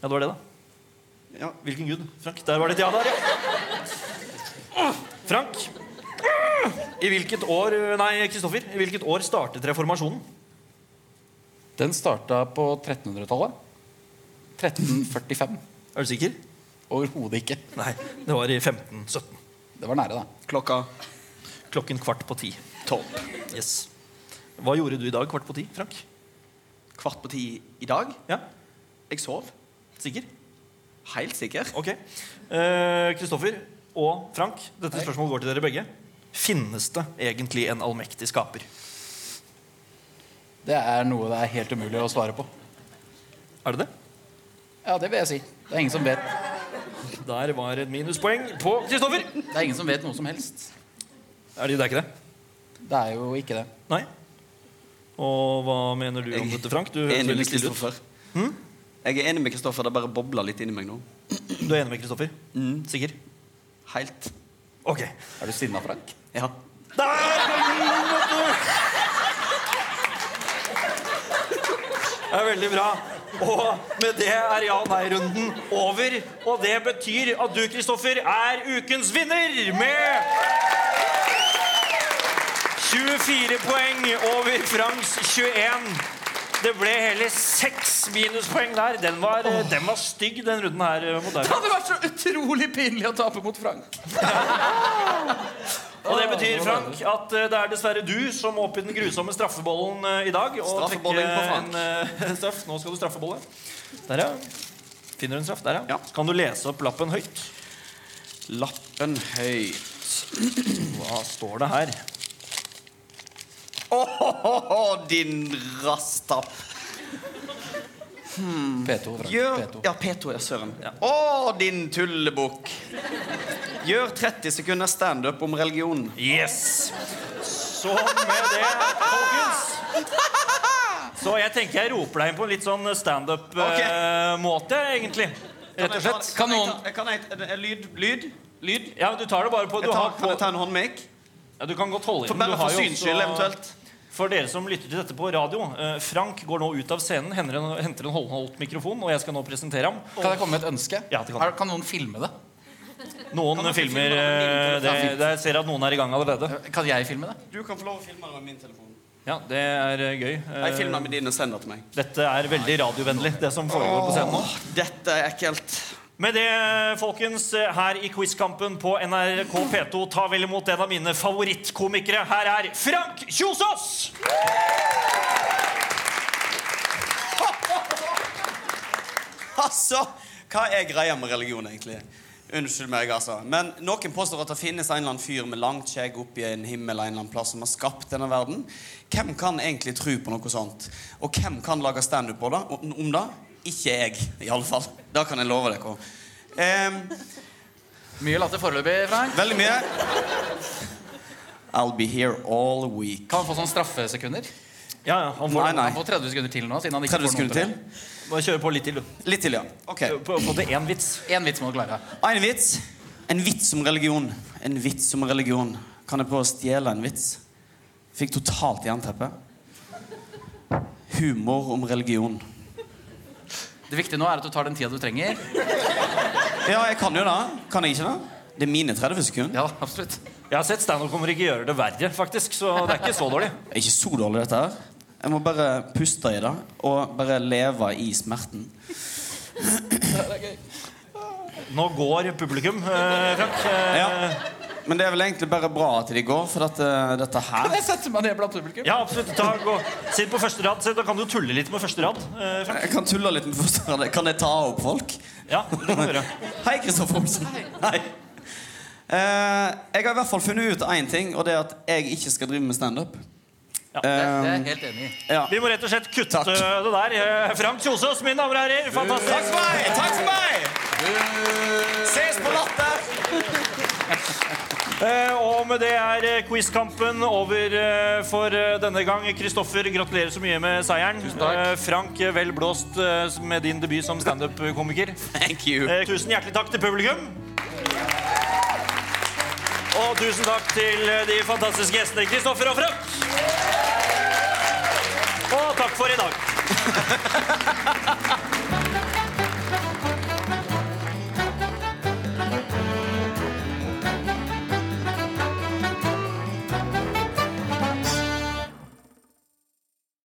S1: Ja, det var det, da. Hvilken gud? Frank, der var det et ja der, ja. Frank, i hvilket år eh, Nei, Kristoffer. I hvilket år startet reformasjonen?
S2: Den starta på 1300-tallet. 1345.
S1: Er du sikker?
S2: Overhodet ikke.
S1: Nei, det var i 1517.
S2: Det var nære, da.
S3: Klokka
S1: Klokken kvart på ti. Yes. Hva gjorde du i dag kvart på ti, Frank?
S3: Kvart på ti i dag.
S1: Ja.
S3: Jeg sov.
S1: Sikker?
S3: Helt sikker.
S1: Ok. Eh, Kristoffer og Frank, dette spørsmålet går til dere begge. Finnes det egentlig en allmektig skaper?
S2: Det er noe det er helt umulig å svare på.
S1: Er det det?
S2: Ja, det vil jeg si. Det er ingen som vet.
S1: Der var et minuspoeng på Kristoffer.
S2: Det er ingen som vet noe som helst.
S1: Er det, det er ikke det?
S2: Det er jo ikke det.
S1: Nei. Og hva mener du om dette, Frank? Du høres
S3: Enig
S1: veldig
S3: med
S1: stille ut. Hm?
S3: Kristoffer. Jeg er enig med Kristoffer. Det bare bobler litt inni meg nå.
S1: Du er enig med Kristoffer? Sikker?
S3: Helt.
S1: Ok.
S2: Er du sinna, Frank?
S3: Ja.
S1: Der kom den, vet du! Det er veldig bra. Og med det er ja-nei-runden over. Og det betyr at du, Kristoffer, er ukens vinner med 24 poeng over Franks 21. Det ble hele seks minuspoeng der. Den var, den var stygg, den runden her. eh, mot deg.
S2: Det hadde vært så utrolig pinlig å tape mot Frank.
S1: Og det betyr, Frank, at eh, det er dessverre du som må opp i den grusomme straffebollen eh, i dag. Og
S3: Straffebolling
S1: trekke
S3: på Frank.
S1: En, eh, straff. Nå skal du straffebolle. Der, ja. Finner du en straff? Der, ja.
S3: Ja.
S1: Så kan du lese opp lappen høyt.
S3: Lappen høy.
S1: Hva står det her?
S3: Åhåhå, din rastapp.
S2: P2, Mm. Frank.
S3: Gjør
S2: P2.
S3: Ja, P2, ja, søren.
S1: Ja.
S3: Å, din tullebukk. Gjør 30 sekunder standup om religion.
S1: Yes! Så med det, folkens Så jeg tenker jeg roper deg inn på en litt sånn standup-måte, egentlig. Rett og slett.
S3: Kan jeg
S2: Kanon.
S3: ta- kan jeg ta- eh, Lyd? Lyd? Lyd?
S1: Ja, men Du tar det bare på,
S3: Jeg
S1: du, har
S3: tar, kan
S1: på
S3: jeg ta en håndmikk?
S1: ja, du kan godt holde
S3: For-
S1: inn. men
S3: Bare
S1: du
S3: for
S1: har jo
S3: syns skyld,
S1: også-
S3: eventuelt.
S1: For dere som lytter til dette på radio, eh, Frank går nå ut av scenen, henter en, henter en håndholdt mikrofon, og jeg skal nå presentere ham.
S2: Kan jeg komme med et ønske?
S1: Ja, det kan du.
S2: Er- kan noen filme det?
S1: Noen filmer eh, det, det, Jeg ser at noen er i gang allerede.
S2: Kan jeg filme det?
S3: Du kan få lov å filme det med min telefon.
S1: Ja, det er eh, gøy. Eh,
S3: Jeg filmer med din og sender til meg.
S1: Dette er veldig radiovennlig, det som foregår på scenen nå.
S3: Åh, dette er ekkelt.
S1: Med det, folkens, eh, her i Quizkampen på NRK P2, ta vel imot en av mine favorittkomikere. Her er Frank Kjosås!
S3: Altså, hva er greia med religion, egentlig? Unnskyld meg, altså. Men noen påstår at det finnes en eller annen fyr med langt skjegg oppi en himmel en eller annen plass som har skapt denne verden. Hvem kan egentlig tro på noe sånt? Og hvem kan lage standup på det- om det? Ikke jeg, i alle fall. Det kan jeg love dere. Ehm,
S2: Mye latter foreløpig, Frank.
S3: veldig mye. I'll be here all week.
S2: Kan han få sånn straffesekunder?
S1: Ja, ja, han får
S3: Nei, nei.
S2: Han får 30 sekunder til nå. siden han ikke får
S3: 30
S2: noen
S3: sekunder til.
S1: Bare kjøre på litt til, du.
S3: Litt til, ja. Ok.
S1: På, på til én vits.
S2: det. En vits må du klare.
S3: En vits. En vits om religion. En vits om religion. Kan jeg prøve å stjele en vits? Fikk totalt jernteppe. Humor om religion.
S2: Det viktige nå er at du tar den tida du trenger.
S3: Ja, jeg kan jo det. Kan jeg ikke det? Det er mine 30 sekunder.
S2: Ja, absolutt.
S1: Jeg har sett standup kommer ikke gjøre det verre, faktisk. Så det er ikke så dårlig.
S3: Det er ikke så dårlig, dette her. Jeg må bare puste i det og bare leve i smerten.
S1: Nå går publikum, eh, Frank. Eh, ja.
S3: Ja. Men det er vel egentlig bare bra at de går, for dette, dette her
S2: Kan jeg sette meg ned blant publikum?
S1: absolutt. Ta, gå. Sitt på første rad. så Da kan du tulle litt med første rad. eh, Frank.
S3: Jeg kan tulle litt med første rad. Kan jeg ta opp folk?
S1: Ja, det kan du gjøre.
S3: Hei, Kristoffer Olsen. Hei. Eh, jeg har i hvert fall funnet ut én ting, og det er at jeg ikke skal drive med standup.
S2: Det, det er jeg helt enig i.
S3: Ja.
S1: Vi må rett og slett kutte
S3: Takk.
S1: det der. Eh, Frank Kjosås, mine damer og herrer.
S3: Takk
S1: Fantastisk.
S3: for meg! Takk for meg! Ses på Latter!
S1: Eh, og med det er eh, quizkampen over eh, for eh, denne gang. Kristoffer, gratulerer så mye med seieren. Eh, Frank, eh, vel blåst eh, med din debut som standup-komiker.
S3: Thank you.
S1: Eh, tusen hjertelig takk til publikum. Og tusen takk til eh, de fantastiske gjestene Kristoffer og Frank. Og takk for i dag.